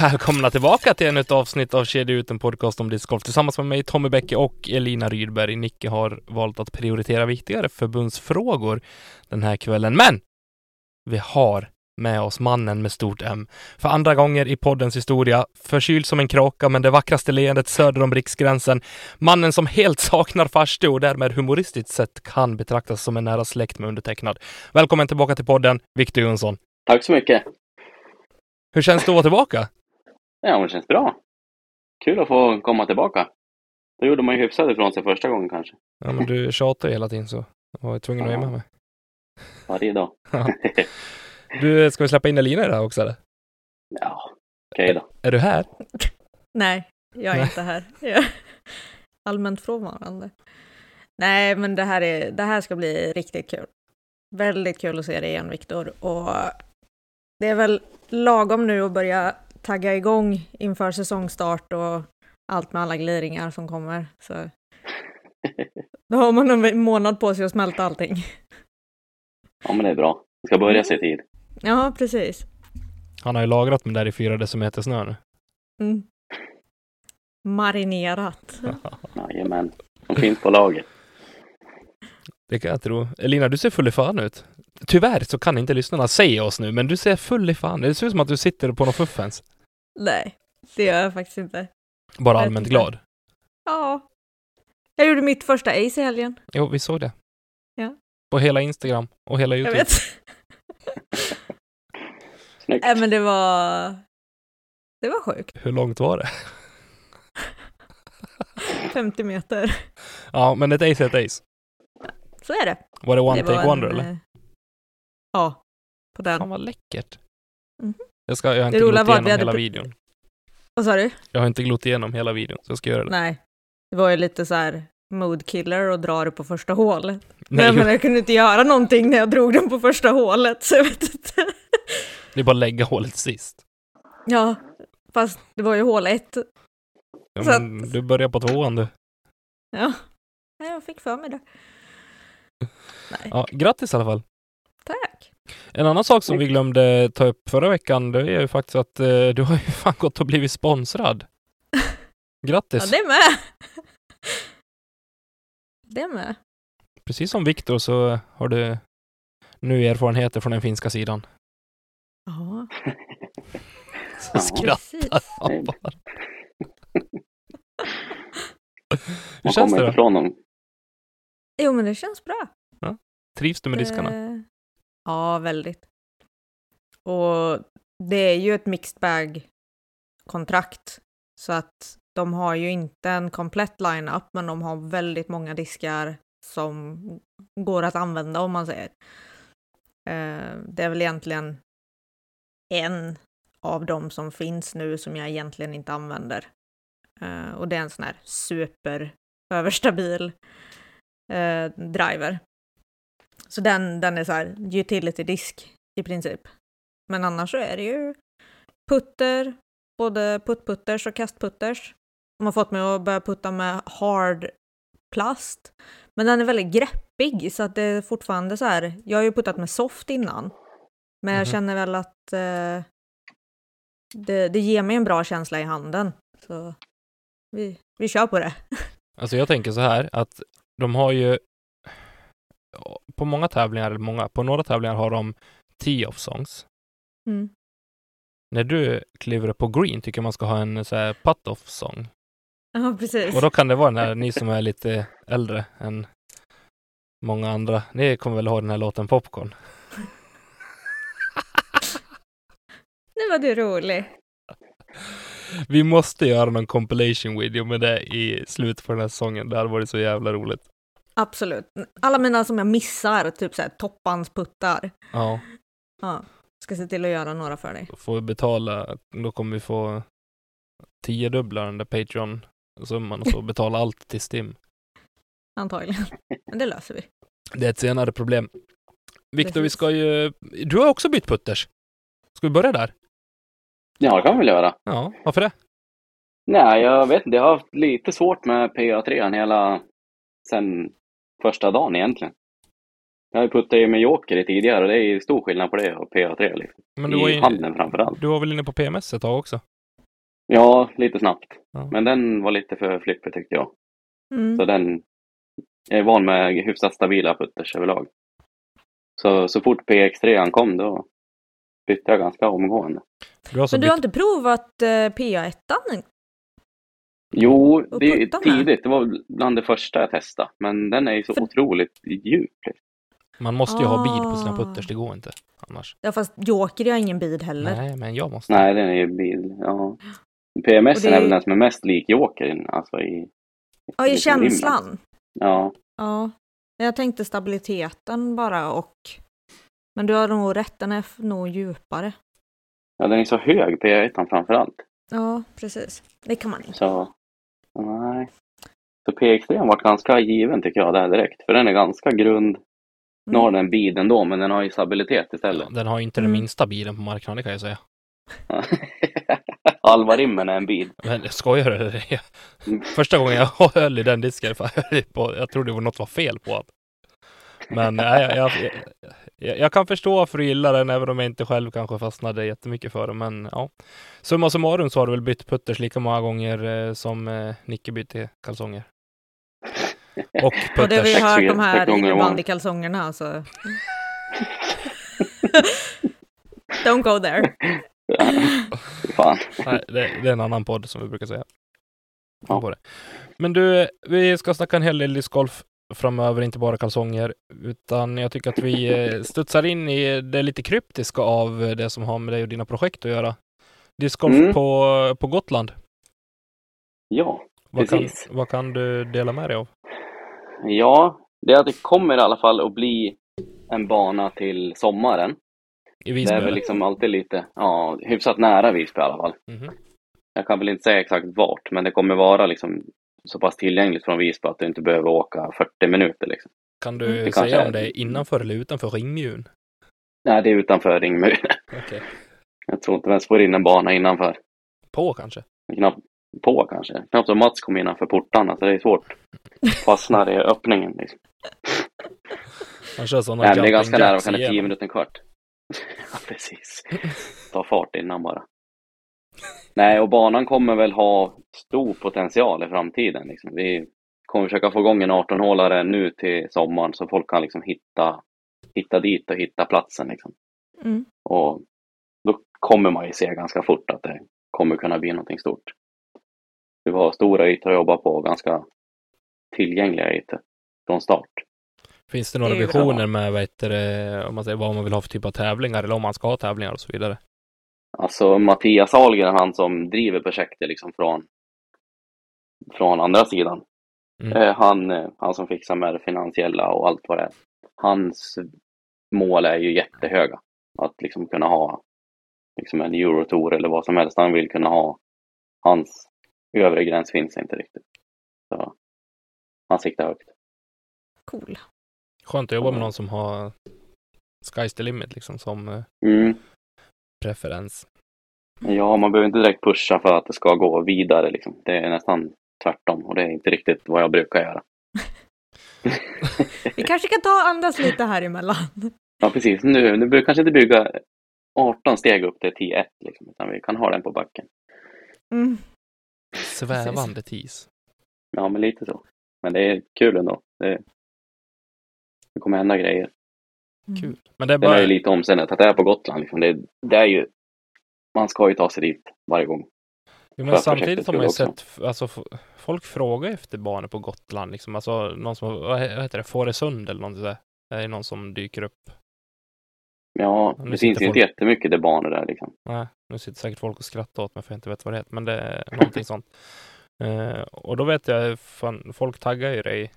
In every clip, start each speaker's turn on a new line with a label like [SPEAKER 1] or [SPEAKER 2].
[SPEAKER 1] Välkomna tillbaka till ännu ett avsnitt av Kedja ut, en podcast om discgolf tillsammans med mig Tommy Bäcke och Elina Rydberg. Nicke har valt att prioritera viktigare förbundsfrågor den här kvällen, men vi har med oss mannen med stort M. För andra gånger i poddens historia, förkyld som en kråka men det vackraste leendet söder om riksgränsen, mannen som helt saknar farstu och därmed humoristiskt sett kan betraktas som en nära släkt med undertecknad. Välkommen tillbaka till podden, Victor Jonsson.
[SPEAKER 2] Tack så mycket.
[SPEAKER 1] Hur känns det att vara tillbaka?
[SPEAKER 2] Ja, men det känns bra. Kul att få komma tillbaka. Då gjorde man ju hyfsat ifrån sig första gången kanske.
[SPEAKER 1] Ja, men du tjatar ju hela tiden så jag var ju tvungen att vara med mig.
[SPEAKER 2] Varje dag.
[SPEAKER 1] Du, ska vi släppa in Elina i det här också eller?
[SPEAKER 2] Ja, okej då.
[SPEAKER 1] Är du här?
[SPEAKER 3] Nej, jag är
[SPEAKER 1] Nej.
[SPEAKER 3] inte här. Jag är allmänt frånvarande. Nej, men det här, är, det här ska bli riktigt kul. Väldigt kul att se dig igen, Viktor. Och det är väl lagom nu att börja tagga igång inför säsongstart och allt med alla gliringar som kommer. Så. Då har man en månad på sig att smälta allting.
[SPEAKER 2] Ja, men det är bra. Vi ska börja sig i tid.
[SPEAKER 3] Ja, precis.
[SPEAKER 1] Han har ju lagrat mig där i fyra decimeter snö nu.
[SPEAKER 3] Mm. Marinerat.
[SPEAKER 2] Jajamän. De finns på lager.
[SPEAKER 1] Det kan jag tro. Elina, du ser full i fan ut. Tyvärr så kan inte lyssnarna se oss nu, men du ser full i fan. Det ser ut som att du sitter på någon fuffens.
[SPEAKER 3] Nej, det gör jag faktiskt inte.
[SPEAKER 1] Bara
[SPEAKER 3] Jag
[SPEAKER 1] allmänt
[SPEAKER 3] tycker-
[SPEAKER 1] glad.
[SPEAKER 3] Ja. Jag gjorde mitt första ace i helgen.
[SPEAKER 1] Jo, vi såg det.
[SPEAKER 3] Ja.
[SPEAKER 1] På hela Instagram och hela
[SPEAKER 3] Jag
[SPEAKER 1] YouTube.
[SPEAKER 3] vet.
[SPEAKER 1] Äh,
[SPEAKER 2] Snyggt.
[SPEAKER 3] Nej men det var... Det var sjukt.
[SPEAKER 1] Hur långt var det?
[SPEAKER 3] 50 meter.
[SPEAKER 1] Ja, men ett ace är ett ace.
[SPEAKER 3] Så är det.
[SPEAKER 1] Var det one
[SPEAKER 3] det var
[SPEAKER 1] take wonder
[SPEAKER 3] en,
[SPEAKER 1] eller?
[SPEAKER 3] eh, Ja, på den.
[SPEAKER 1] Fan vad läckert.
[SPEAKER 3] Mhm.
[SPEAKER 1] Jag ska, jag har inte
[SPEAKER 3] roliga
[SPEAKER 1] glott
[SPEAKER 3] var att vi
[SPEAKER 1] igenom hela
[SPEAKER 3] hade pr-
[SPEAKER 1] videon.
[SPEAKER 3] Vad sa du?
[SPEAKER 1] Jag har inte glott igenom hela videon, så jag ska göra det.
[SPEAKER 3] Nej. Det var ju lite så här mood killer och dra det på första hålet.
[SPEAKER 1] Nej,
[SPEAKER 3] Nej men jag kunde inte göra någonting när jag drog den på första hålet, så jag vet inte.
[SPEAKER 1] det är bara att lägga hålet sist.
[SPEAKER 3] Ja, fast det var ju hål ett.
[SPEAKER 1] Ja,
[SPEAKER 3] Så att-
[SPEAKER 1] men du börjar på tvåan du.
[SPEAKER 3] Ja. Nej, jag fick för mig det. Nej,
[SPEAKER 1] Ja, grattis i alla fall.
[SPEAKER 3] tack.
[SPEAKER 1] En annan sak som vi glömde ta upp förra veckan, det är ju faktiskt att eh, du har ju fan gått och blivit sponsrad.
[SPEAKER 3] Ja,
[SPEAKER 1] Grattis!
[SPEAKER 3] det med. Det med.
[SPEAKER 1] Precis som Viktor så har du nu erfarenheter från den finska sidan.
[SPEAKER 3] Ja,
[SPEAKER 1] Så
[SPEAKER 2] Ja.
[SPEAKER 1] skrattar
[SPEAKER 3] precis.
[SPEAKER 1] jag bara. Hur
[SPEAKER 2] Man
[SPEAKER 1] känns
[SPEAKER 2] kommer
[SPEAKER 1] det
[SPEAKER 2] inte
[SPEAKER 1] då?
[SPEAKER 2] ifrån dem.
[SPEAKER 3] Jo, men det känns bra.
[SPEAKER 1] Trivs du med
[SPEAKER 3] Eh.
[SPEAKER 1] diskarna?
[SPEAKER 3] Det- Ja, väldigt. Och det är ju ett mixed bag-kontrakt, så att de har ju inte en komplett line-up, men de har väldigt många diskar som går att använda om man säger. Eh, Det är väl egentligen en av de som finns nu som jag egentligen inte använder. Eh, Och det är en sån här super överstabil eh, driver. Så den, den är så här utility-disk i princip. Men annars så är det ju putter, både puttputters och kastputters. De har fått mig att börja putta med hard plast. Men den är väldigt greppig så att det är fortfarande så här. Jag har ju puttat med soft innan. Men jag
[SPEAKER 1] Mhm.
[SPEAKER 3] känner väl att eh, det, det ger mig en bra känsla i handen. Så vi, vi kör på det.
[SPEAKER 1] Alltså jag tänker så här att de har ju på många tävlingar, eller många, på några tävlingar har de tee off songs. När du kliver upp på green tycker jag man ska ha en så här cut-off sång.
[SPEAKER 3] Ja, precis.
[SPEAKER 1] Och då kan det vara den här, ni som är lite äldre än många andra. Ni kommer väl ha den här låten Popcorn?
[SPEAKER 3] Nu var du rolig.
[SPEAKER 1] Vi måste göra någon compilation video med det i slutet på den här säsongen. Det hade varit så jävla roligt.
[SPEAKER 3] Absolut. Alla mina som jag missar, typ såhär toppansputtar.
[SPEAKER 1] Ja,
[SPEAKER 3] Ja. Ska se till att göra några för dig.
[SPEAKER 1] då får vi betala. Då kommer vi få tiodubbla den där Patreon-summan och så betala allt till Stim.
[SPEAKER 3] Antagligen. Men det löser vi.
[SPEAKER 1] Det är ett senare problem. Viktor, vi
[SPEAKER 3] Precis.
[SPEAKER 1] ska ju... Du har också bytt putters. Ska vi börja där?
[SPEAKER 2] Ja, det kan vi väl göra.
[SPEAKER 1] Ja, varför det?
[SPEAKER 2] Nej, jag vet inte. Jag har haft lite svårt med PA3 hela... Sen första dagen egentligen. Jag puttade ju med Joker i tidigare och det är ju stor skillnad på det och PA3 liksom.
[SPEAKER 1] Men du var,
[SPEAKER 2] I
[SPEAKER 1] ju,
[SPEAKER 2] handen framför allt.
[SPEAKER 1] du var väl inne på PMS ett tag också?
[SPEAKER 2] Ja, lite snabbt.
[SPEAKER 1] Ja.
[SPEAKER 2] Men den var lite för flippig tyckte jag.
[SPEAKER 3] Mm.
[SPEAKER 2] Så den... Jag är van med hyfsat stabila putters överlag. Så, så fort PX3 kom då bytte jag ganska omgående.
[SPEAKER 1] Du har så
[SPEAKER 3] Men du har
[SPEAKER 1] bytt...
[SPEAKER 3] inte provat eh, PA1 än?
[SPEAKER 2] Jo,
[SPEAKER 3] Och
[SPEAKER 2] det är ju
[SPEAKER 3] putta med.
[SPEAKER 2] tidigt. Det var bland det första jag testade. Men den är ju så
[SPEAKER 3] För-
[SPEAKER 2] otroligt djup. liksom.
[SPEAKER 1] Man måste ju ha bid på sina
[SPEAKER 3] Ah.
[SPEAKER 1] putters, det går inte annars.
[SPEAKER 3] Ja, fast Joker har ingen bid heller.
[SPEAKER 1] Nej, men jag måste.
[SPEAKER 2] Nej, den är ju bil. Ja. PMS
[SPEAKER 3] Och det är-
[SPEAKER 2] är väl den som är mest lik Jokern. Alltså i...
[SPEAKER 3] Ja, i
[SPEAKER 2] lite
[SPEAKER 3] känslan.
[SPEAKER 2] rymden. Ja.
[SPEAKER 3] Ja. Jag tänkte stabiliteten bara och... Men du har nog rätt, den är f- nog djupare.
[SPEAKER 2] ja, den är så hög, PA1 framför allt.
[SPEAKER 3] Ja, precis. Det kan man inte.
[SPEAKER 2] Så... Nej. Så PX3 har varit ganska given tycker jag där direkt. För den är ganska grund. Nu har den bid ändå, men den har ju stabilitet istället.
[SPEAKER 1] Den har ju inte
[SPEAKER 3] Mm.
[SPEAKER 1] den minsta bilen på marknaden, det kan jag säga.
[SPEAKER 2] Halva rimmen är en bid.
[SPEAKER 1] Men jag skojar eller? Jag- Första gången jag höll i den disken, fan, jag, höll på, jag trodde det var något var fel på den. Men nej, jag, jag, jag, jag kan förstå varför du gillar den, även om jag inte själv kanske fastnade jättemycket för den. Men ja, summa summarum så har du väl bytt putters lika många gånger eh, som eh, Nicke bytte kalsonger. Och
[SPEAKER 3] Och det har vi
[SPEAKER 1] putters.
[SPEAKER 2] Tack så
[SPEAKER 3] hört de
[SPEAKER 2] mycket.
[SPEAKER 3] här
[SPEAKER 2] Tack gånger om.
[SPEAKER 3] innebandykalsongerna alltså. Don't go there.
[SPEAKER 2] Fy Fan.
[SPEAKER 1] Nej, det, det är en annan podd som vi brukar säga.
[SPEAKER 2] Ja.
[SPEAKER 1] På det. Men du, vi ska snacka en hel del discgolf framöver, inte bara kalsonger, utan jag tycker att vi eh, studsar in i det lite kryptiska av eh, det som har med dig och dina projekt att göra. Discgolf
[SPEAKER 2] Mm.
[SPEAKER 1] på, på Gotland.
[SPEAKER 2] Ja.
[SPEAKER 1] Vad kan,
[SPEAKER 2] Precis.
[SPEAKER 1] vad kan du dela med dig av?
[SPEAKER 2] Ja, det är att det kommer i alla fall att bli en bana till sommaren.
[SPEAKER 1] I
[SPEAKER 2] Det
[SPEAKER 1] Visby?
[SPEAKER 2] är väl
[SPEAKER 1] eller?
[SPEAKER 2] liksom alltid lite, ja, hyfsat nära Visby i alla fall.
[SPEAKER 1] Mhm.
[SPEAKER 2] Jag kan väl inte säga exakt vart, men det kommer vara liksom så pass tillgängligt från Visby att du inte behöver åka 40 minuter liksom.
[SPEAKER 1] Kan
[SPEAKER 3] Mm.
[SPEAKER 1] du
[SPEAKER 2] Det kanske
[SPEAKER 1] säga
[SPEAKER 2] är-
[SPEAKER 1] om det är innanför eller utanför ringmjun?
[SPEAKER 2] Nej, det är utanför Ringmyr.
[SPEAKER 1] Okej.
[SPEAKER 2] Jag tror inte ens får in en bana innanför.
[SPEAKER 1] På kanske?
[SPEAKER 2] Knappt på kanske. Knappt som Mats kom innanför portarna, så det är svårt. Fastnar i öppningen liksom.
[SPEAKER 1] Han kör sådana
[SPEAKER 2] Nej, men det är
[SPEAKER 1] jumping
[SPEAKER 2] ganska nära,
[SPEAKER 1] jacks
[SPEAKER 2] kan det 10
[SPEAKER 1] igenom.
[SPEAKER 2] minuter, en kvart. ja, precis. Ta fart innan bara. Nej, och banan kommer väl ha stor potential i framtiden. Liksom. Vi kommer försöka få igång en 18-hålare nu till sommaren så folk kan liksom hitta, hitta dit och hitta platsen. Liksom.
[SPEAKER 3] Mm.
[SPEAKER 2] Och då kommer man ju se ganska fort att det kommer kunna bli någonting stort. Vi har stora ytor att jobba på och ganska tillgängliga ytor från start.
[SPEAKER 1] Finns det några
[SPEAKER 3] Det är ju
[SPEAKER 1] visioner med vad heter det, om man säger, vad man vill ha för typ av tävlingar eller om man ska ha tävlingar och så vidare?
[SPEAKER 2] Alltså Mattias Ahlgren, han som driver projektet liksom från, från andra sidan.
[SPEAKER 1] Mm.
[SPEAKER 2] Eh, Han, eh, han som fixar med det finansiella och allt vad det är. Hans mål är ju jättehöga. Att liksom kunna ha liksom en Eurotour eller vad som helst han vill kunna ha. Hans övre gräns finns inte riktigt. Så han siktar högt.
[SPEAKER 3] Cool.
[SPEAKER 1] Skönt att jobba med
[SPEAKER 2] Ja.
[SPEAKER 1] någon som har Sky's the limit liksom som eh,
[SPEAKER 2] Mm.
[SPEAKER 1] preferens.
[SPEAKER 2] Ja, man behöver inte direkt pusha för att det ska gå vidare. Liksom. Det är nästan tvärtom och det är inte riktigt vad jag brukar göra.
[SPEAKER 3] Vi kanske kan ta och andas lite här emellan.
[SPEAKER 2] Ja, precis. Nu, nu brukar kanske inte bygga 18 steg upp till 10-1, liksom, utan vi kan ha den på backen.
[SPEAKER 3] Mm.
[SPEAKER 1] Svävande tis.
[SPEAKER 2] Ja, men lite så. Men det är kul ändå. Det, det kommer hända grejer.
[SPEAKER 3] Mm.
[SPEAKER 1] Kul. Men det är
[SPEAKER 2] Det är
[SPEAKER 1] bara,
[SPEAKER 2] ju lite omständigt att det är på Gotland. Liksom. Det, det är ju, man ska ju ta sig dit varje gång.
[SPEAKER 1] Jo,
[SPEAKER 2] För
[SPEAKER 1] men
[SPEAKER 2] att
[SPEAKER 1] samtidigt
[SPEAKER 2] projektet
[SPEAKER 1] har man ju
[SPEAKER 2] skulle
[SPEAKER 1] sett, f- alltså f- folk frågar ju efter banor på Gotland liksom, alltså någon som, vad he- vad heter det, Fårösund eller något sådär. Det är någon som dyker upp.
[SPEAKER 2] Ja,
[SPEAKER 1] Men nu
[SPEAKER 2] det finns
[SPEAKER 1] sitter
[SPEAKER 2] ju inte
[SPEAKER 1] folk-
[SPEAKER 2] jättemycket debaner där liksom.
[SPEAKER 1] Nej, nu sitter säkert folk och skrattar åt mig för jag inte vet vad det heter, men det är någonting sånt. Eh, och då vet jag, fan, folk taggar ju dig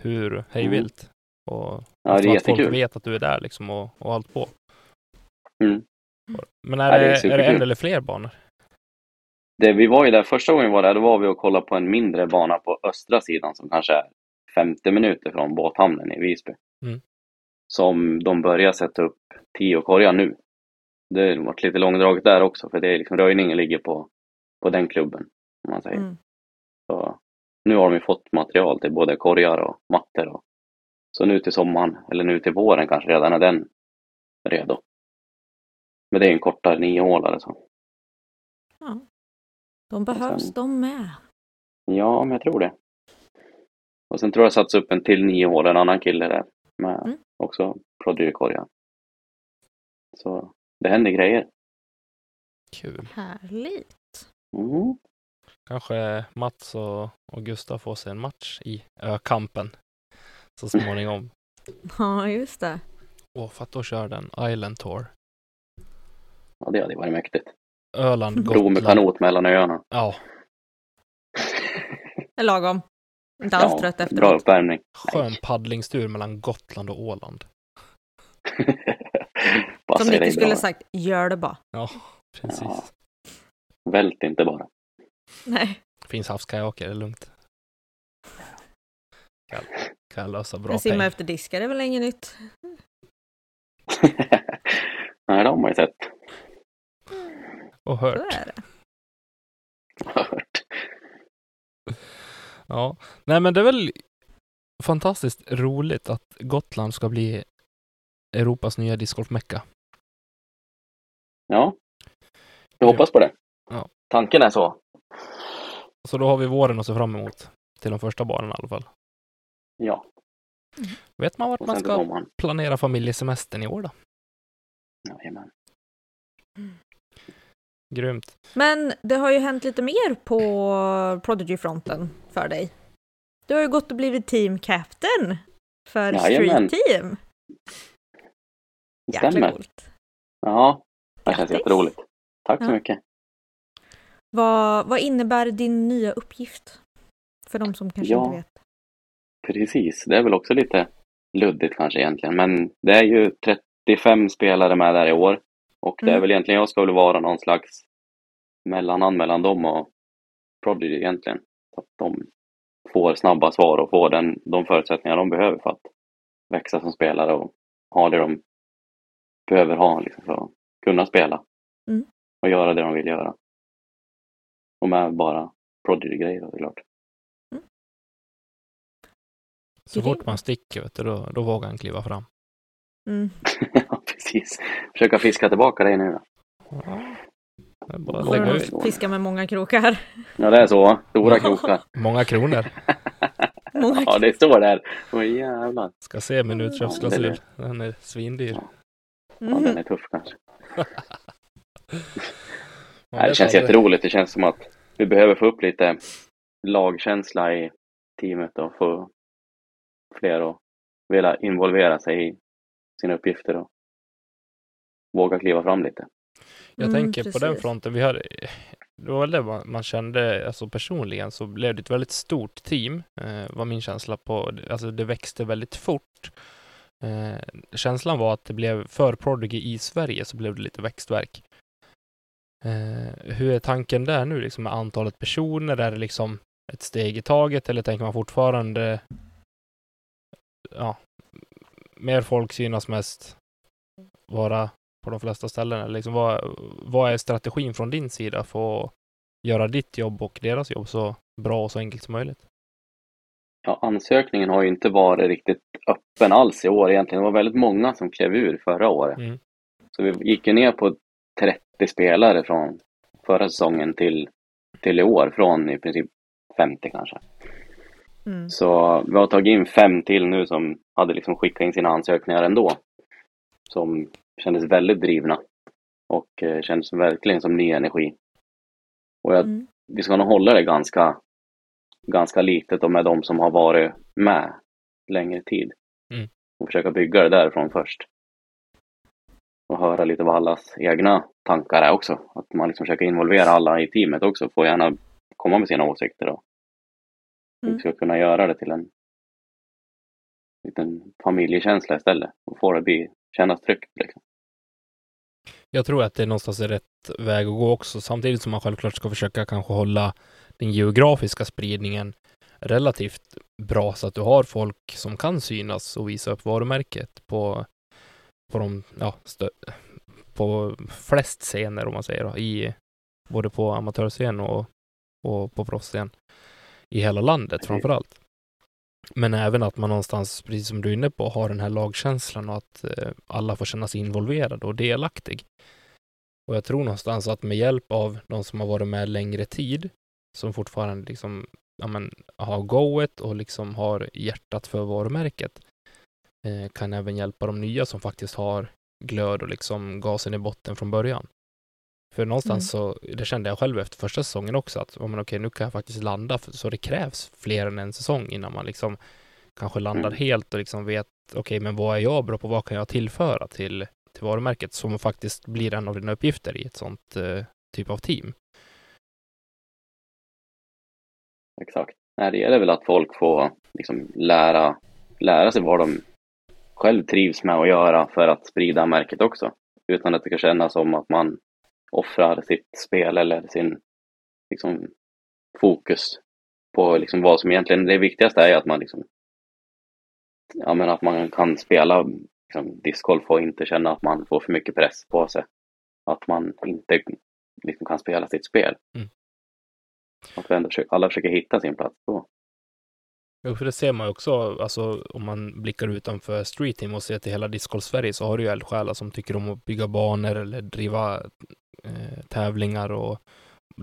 [SPEAKER 1] hur hejvilt. Och
[SPEAKER 2] Mm. Ja, det
[SPEAKER 1] så
[SPEAKER 2] är
[SPEAKER 1] att folk
[SPEAKER 2] jättekul.
[SPEAKER 1] vet att du är där liksom och, och allt på.
[SPEAKER 2] Mm.
[SPEAKER 1] Men är,
[SPEAKER 2] Ja, det
[SPEAKER 1] det, är,
[SPEAKER 2] är
[SPEAKER 1] det en
[SPEAKER 2] superkul.
[SPEAKER 1] eller fler banor?
[SPEAKER 2] Det, vi var ju där, första gången vi var där, då var vi och kollade på en mindre bana på östra sidan som kanske är 50 minuter från båthamnen i Visby.
[SPEAKER 1] Mm.
[SPEAKER 2] Som de börjar sätta upp 10 korgar nu. Det har varit lite långdraget där också, för det är liksom, röjningen ligger på, på den klubben. Om man säger.
[SPEAKER 3] Mm.
[SPEAKER 2] Så nu har de ju fått material till både korgar och mattor. Och, så nu till sommaren, eller nu till våren kanske redan är den redo. Men det är en kortare niohålare. Så.
[SPEAKER 3] Ja. De behövs
[SPEAKER 2] sen-
[SPEAKER 3] de med.
[SPEAKER 2] Ja, men jag tror det. Och sen tror jag satts upp en till niohålare, en annan kille där. Med
[SPEAKER 3] Mm.
[SPEAKER 2] också prodyrkorgar. Så det händer grejer.
[SPEAKER 1] Kul.
[SPEAKER 3] Härligt.
[SPEAKER 2] Mm.
[SPEAKER 1] Kanske Mats och, och Gustav får sig en match i ökampen så småningom.
[SPEAKER 2] Mm.
[SPEAKER 3] Ja, just det.
[SPEAKER 1] Åh, för att då kör den Island Tour.
[SPEAKER 2] Ja, det hade ju varit mäktigt.
[SPEAKER 1] Öland,
[SPEAKER 2] Bro med
[SPEAKER 1] Gotland.
[SPEAKER 2] kanot mellan öarna.
[SPEAKER 1] Ja,
[SPEAKER 3] Det är lagom. Inte alls
[SPEAKER 2] Ja,
[SPEAKER 3] trött
[SPEAKER 2] Bra
[SPEAKER 3] efteråt.
[SPEAKER 2] uppvärmning.
[SPEAKER 1] skön paddlingstur mellan Gotland och Åland.
[SPEAKER 2] Passar
[SPEAKER 3] Som
[SPEAKER 2] dig bra.
[SPEAKER 3] Nicky skulle sagt, gör det bara.
[SPEAKER 1] Ja, precis.
[SPEAKER 2] Ja. Vält inte bara.
[SPEAKER 3] Nej,
[SPEAKER 1] Finns havskajaker, det är lugnt. Kan, kan lösa bra
[SPEAKER 3] men simma
[SPEAKER 1] pengar.
[SPEAKER 3] efter diskar är väl inget nytt.
[SPEAKER 2] Nej, det har man ju sett
[SPEAKER 1] Och
[SPEAKER 3] Så
[SPEAKER 1] hört.
[SPEAKER 3] är det.
[SPEAKER 2] och hört.
[SPEAKER 1] Ja, nej men det är väl fantastiskt roligt att Gotland ska bli Europas nya discgolfmecka.
[SPEAKER 2] Ja, jag hoppas på det.
[SPEAKER 1] Ja.
[SPEAKER 2] Tanken är så.
[SPEAKER 1] Så då har vi våren att se fram emot. Till de första barnen i alla fall.
[SPEAKER 2] Ja,
[SPEAKER 1] Vet man vart
[SPEAKER 2] och
[SPEAKER 1] man
[SPEAKER 2] sen till
[SPEAKER 1] ska
[SPEAKER 2] sommaren.
[SPEAKER 1] planera familjesemestern i år då?
[SPEAKER 2] Jajamän.
[SPEAKER 1] Grymt.
[SPEAKER 3] Men det har ju hänt lite mer på Prodigy-fronten för dig. Du har ju gått och blivit team captain för
[SPEAKER 2] Jajamän.
[SPEAKER 3] Street Team.
[SPEAKER 2] Det
[SPEAKER 3] Jäkla
[SPEAKER 2] stämmer.
[SPEAKER 3] coolt.
[SPEAKER 2] Ja, det känns
[SPEAKER 3] Grattis.
[SPEAKER 2] jätteroligt. Tack så
[SPEAKER 3] Ja.
[SPEAKER 2] mycket.
[SPEAKER 3] Vad, vad innebär din nya uppgift? För de som kanske
[SPEAKER 2] Ja.
[SPEAKER 3] inte vet.
[SPEAKER 2] Precis, det är väl också lite luddigt kanske egentligen, men det är ju 35 spelare med där i år och det är
[SPEAKER 3] Mm.
[SPEAKER 2] väl egentligen jag ska väl vara någon slags mellanhand mellan dem och Prodigy egentligen. Så att de får snabba svar och får den, de förutsättningar de behöver för att växa som spelare och ha det de behöver ha liksom, för att kunna spela
[SPEAKER 3] Mm.
[SPEAKER 2] och göra det de vill göra. Och med bara Prodigy-grejer då, såklart.
[SPEAKER 1] Så
[SPEAKER 3] Grymt.
[SPEAKER 1] fort man sticker, vet du, då, då vågar han kliva fram.
[SPEAKER 3] Mm.
[SPEAKER 2] ja, precis. Försöka fiska tillbaka dig nu då.
[SPEAKER 1] Ja. Det är bara att
[SPEAKER 3] Får
[SPEAKER 1] lägga
[SPEAKER 3] du
[SPEAKER 1] ut
[SPEAKER 2] ut.
[SPEAKER 3] nog fiska med många krokar.
[SPEAKER 2] Ja, det är så. Stora krokar.
[SPEAKER 1] många kronor.
[SPEAKER 3] Många
[SPEAKER 2] Ja, det står där. Åh jävlar.
[SPEAKER 1] Ska se min
[SPEAKER 2] Ja,
[SPEAKER 1] utköpsklausul. Den är svindyr.
[SPEAKER 2] Ja, Ja,
[SPEAKER 3] Mm.
[SPEAKER 2] den är tuff kanske.
[SPEAKER 1] Man
[SPEAKER 2] Nej, det
[SPEAKER 1] vet
[SPEAKER 2] känns
[SPEAKER 1] aldrig.
[SPEAKER 2] jätteroligt. Det känns som att vi behöver få upp lite lagkänsla i teamet och få fler att vilja involvera sig i sina uppgifter och våga kliva fram lite.
[SPEAKER 1] Jag
[SPEAKER 3] Mm,
[SPEAKER 1] tänker på den
[SPEAKER 3] precis.
[SPEAKER 1] fronten, vi hade, det var väl det man, man kände, alltså personligen så blev det ett väldigt stort team, eh, var min känsla på, alltså det växte väldigt fort. Eh, känslan var att det blev, för Prodigy i Sverige så blev det lite växtverk. Eh, hur är tanken där nu liksom med antalet personer, är det liksom ett steg i taget eller tänker man fortfarande, ja, mer folk synas mest, vara på de flesta ställena. Liksom, vad, vad är strategin från din sida för att göra ditt jobb och deras jobb så bra och så enkelt som möjligt?
[SPEAKER 2] Ja, ansökningen har ju inte varit riktigt öppen alls i år egentligen. Det var väldigt många som klev ur förra året.
[SPEAKER 1] Mm.
[SPEAKER 2] Så vi gick ju ner på 30 spelare från förra säsongen till, till i år, från i princip 50 kanske.
[SPEAKER 3] Mm.
[SPEAKER 2] Så vi har tagit in fem till nu som hade liksom skickat in sina ansökningar ändå. Som kändes väldigt drivna och eh, kändes verkligen som ny energi. Och jag,
[SPEAKER 3] Mm.
[SPEAKER 2] vi ska nog hålla det ganska, ganska litet och med de som har varit med längre tid.
[SPEAKER 1] Mm.
[SPEAKER 2] Och försöka bygga det därifrån först. Och höra lite vad allas egna tankar är också. Att man liksom försöker involvera alla i teamet också. Får gärna komma med sina åsikter och
[SPEAKER 3] Mm.
[SPEAKER 2] vi ska kunna göra det till en liten familjekänsla istället. Och få det bli, kännas tryggt liksom.
[SPEAKER 1] Jag tror att det någonstans är rätt väg att gå också, samtidigt som man självklart ska försöka kanske hålla den geografiska spridningen relativt bra så att du har folk som kan synas och visa upp varumärket på, på de, ja, stö, på flest scener om man säger då, i både på amatörscen och, och på proffsscen i hela landet
[SPEAKER 2] Precis.
[SPEAKER 1] framför allt. Men även att man någonstans, precis som du är inne på, har den här lagkänslan och att eh, alla får känna sig involverade och delaktig. Och jag tror någonstans att med hjälp av de som har varit med längre tid, som fortfarande liksom, ja men, har goet och liksom har hjärtat för varumärket, eh, kan även hjälpa de nya som faktiskt har glöd och liksom gasen i botten från början. För någonstans så, det kände jag själv efter första säsongen också, att ja, men okej, nu kan jag faktiskt landa, för- så det krävs fler än en säsong innan man liksom kanske landar
[SPEAKER 2] Mm.
[SPEAKER 1] helt och liksom vet, okej, men vad är jag bra på, vad kan jag tillföra till, till varumärket, som faktiskt blir en av dina uppgifter i ett sånt eh, typ av team.
[SPEAKER 2] Exakt. Nej, det gäller väl att folk får liksom, lära, lära sig vad de själv trivs med att göra för att sprida märket också. Utan att det ska kännas som att man offrar sitt spel eller sin liksom, fokus på liksom, vad som egentligen, det viktigaste är ju att man liksom, ja, men att man kan spela liksom, discgolf och inte känna att man får för mycket press på sig. Att man inte liksom, kan spela sitt spel. Att vi ändå försöker, alla försöker hitta sin plats då.
[SPEAKER 1] Jo, för det ser man ju också, alltså om man blickar utanför Street Team och ser till hela Discgolf Sverige så har du ju eldsjälar som tycker om att bygga banor eller driva eh, tävlingar och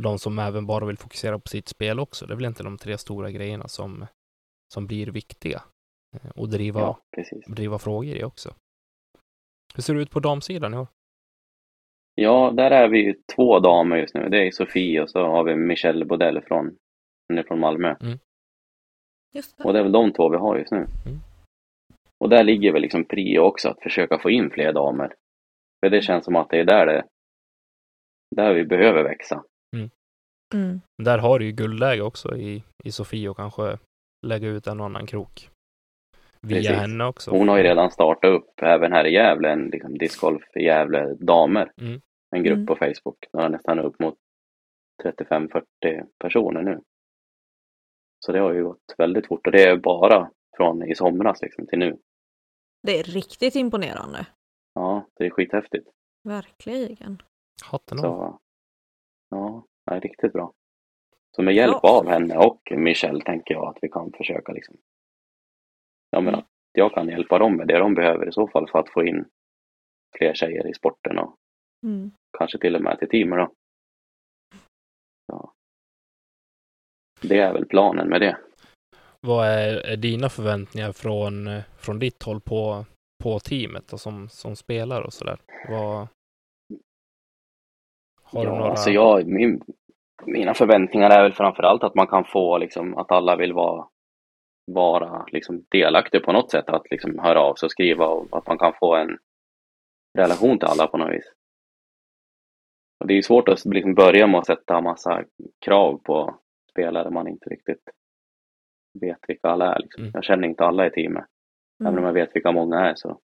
[SPEAKER 1] de som även bara vill fokusera på sitt spel också. Det är väl inte de tre stora grejerna som, som blir viktiga eh, och driva,
[SPEAKER 2] Ja, precis.
[SPEAKER 1] driva frågor i också. Hur ser det ut på damsidan i år?
[SPEAKER 2] Ja, där är vi ju två damer just nu. Det är Sofie och så har vi Michelle Bodell från, hon är från Malmö.
[SPEAKER 3] Just
[SPEAKER 2] Och det
[SPEAKER 3] det.
[SPEAKER 2] är väl de två vi har just nu.
[SPEAKER 1] Mm.
[SPEAKER 2] Och där ligger väl liksom prio också, att försöka få in fler damer. För det känns som att det är där det, där vi behöver växa.
[SPEAKER 3] Mm.
[SPEAKER 1] Där har du ju guldläge också i, i Sofie och kanske lägga ut en och annan krok. Via
[SPEAKER 2] Precis.
[SPEAKER 1] henne också.
[SPEAKER 2] Hon har ju redan startat upp, även här i Gävle, en liksom discgolf i Gävle damer.
[SPEAKER 1] Mm.
[SPEAKER 2] En grupp
[SPEAKER 3] Mm.
[SPEAKER 2] på Facebook. Den har nästan upp mot 35-40 personer nu. Så det har ju gått väldigt fort och det är bara från i somras liksom till nu.
[SPEAKER 3] Det är riktigt imponerande.
[SPEAKER 2] Ja, det är skithäftigt.
[SPEAKER 3] Verkligen.
[SPEAKER 1] Hatten av.
[SPEAKER 2] Så, ja, det är riktigt bra. Så med hjälp
[SPEAKER 3] Ja.
[SPEAKER 2] av henne och Michelle tänker jag att vi kan försöka liksom. Ja, men
[SPEAKER 3] Mm.
[SPEAKER 2] att jag kan hjälpa dem med det de behöver i så fall för att få in fler tjejer i sporten och
[SPEAKER 3] Mm.
[SPEAKER 2] kanske till och med till teamet då. Ja. Det är väl planen med det.
[SPEAKER 1] Vad är, är dina förväntningar från, eh, från ditt håll på, på teamet och som, som spelar och sådär? Vad... Har
[SPEAKER 2] ja,
[SPEAKER 1] du några...
[SPEAKER 2] alltså jag, min, mina förväntningar är väl framförallt att man kan få liksom, att alla vill vara, vara liksom, delaktiga på något sätt. Att liksom, höra av sig och skriva och att man kan få en relation till alla på något vis. Och det är ju svårt att liksom, börja med att sätta massa krav på spelare man inte riktigt vet vilka alla är. Liksom.
[SPEAKER 1] Mm.
[SPEAKER 2] Jag känner inte alla i teamet. Även om
[SPEAKER 3] Mm.
[SPEAKER 2] jag vet vilka många är så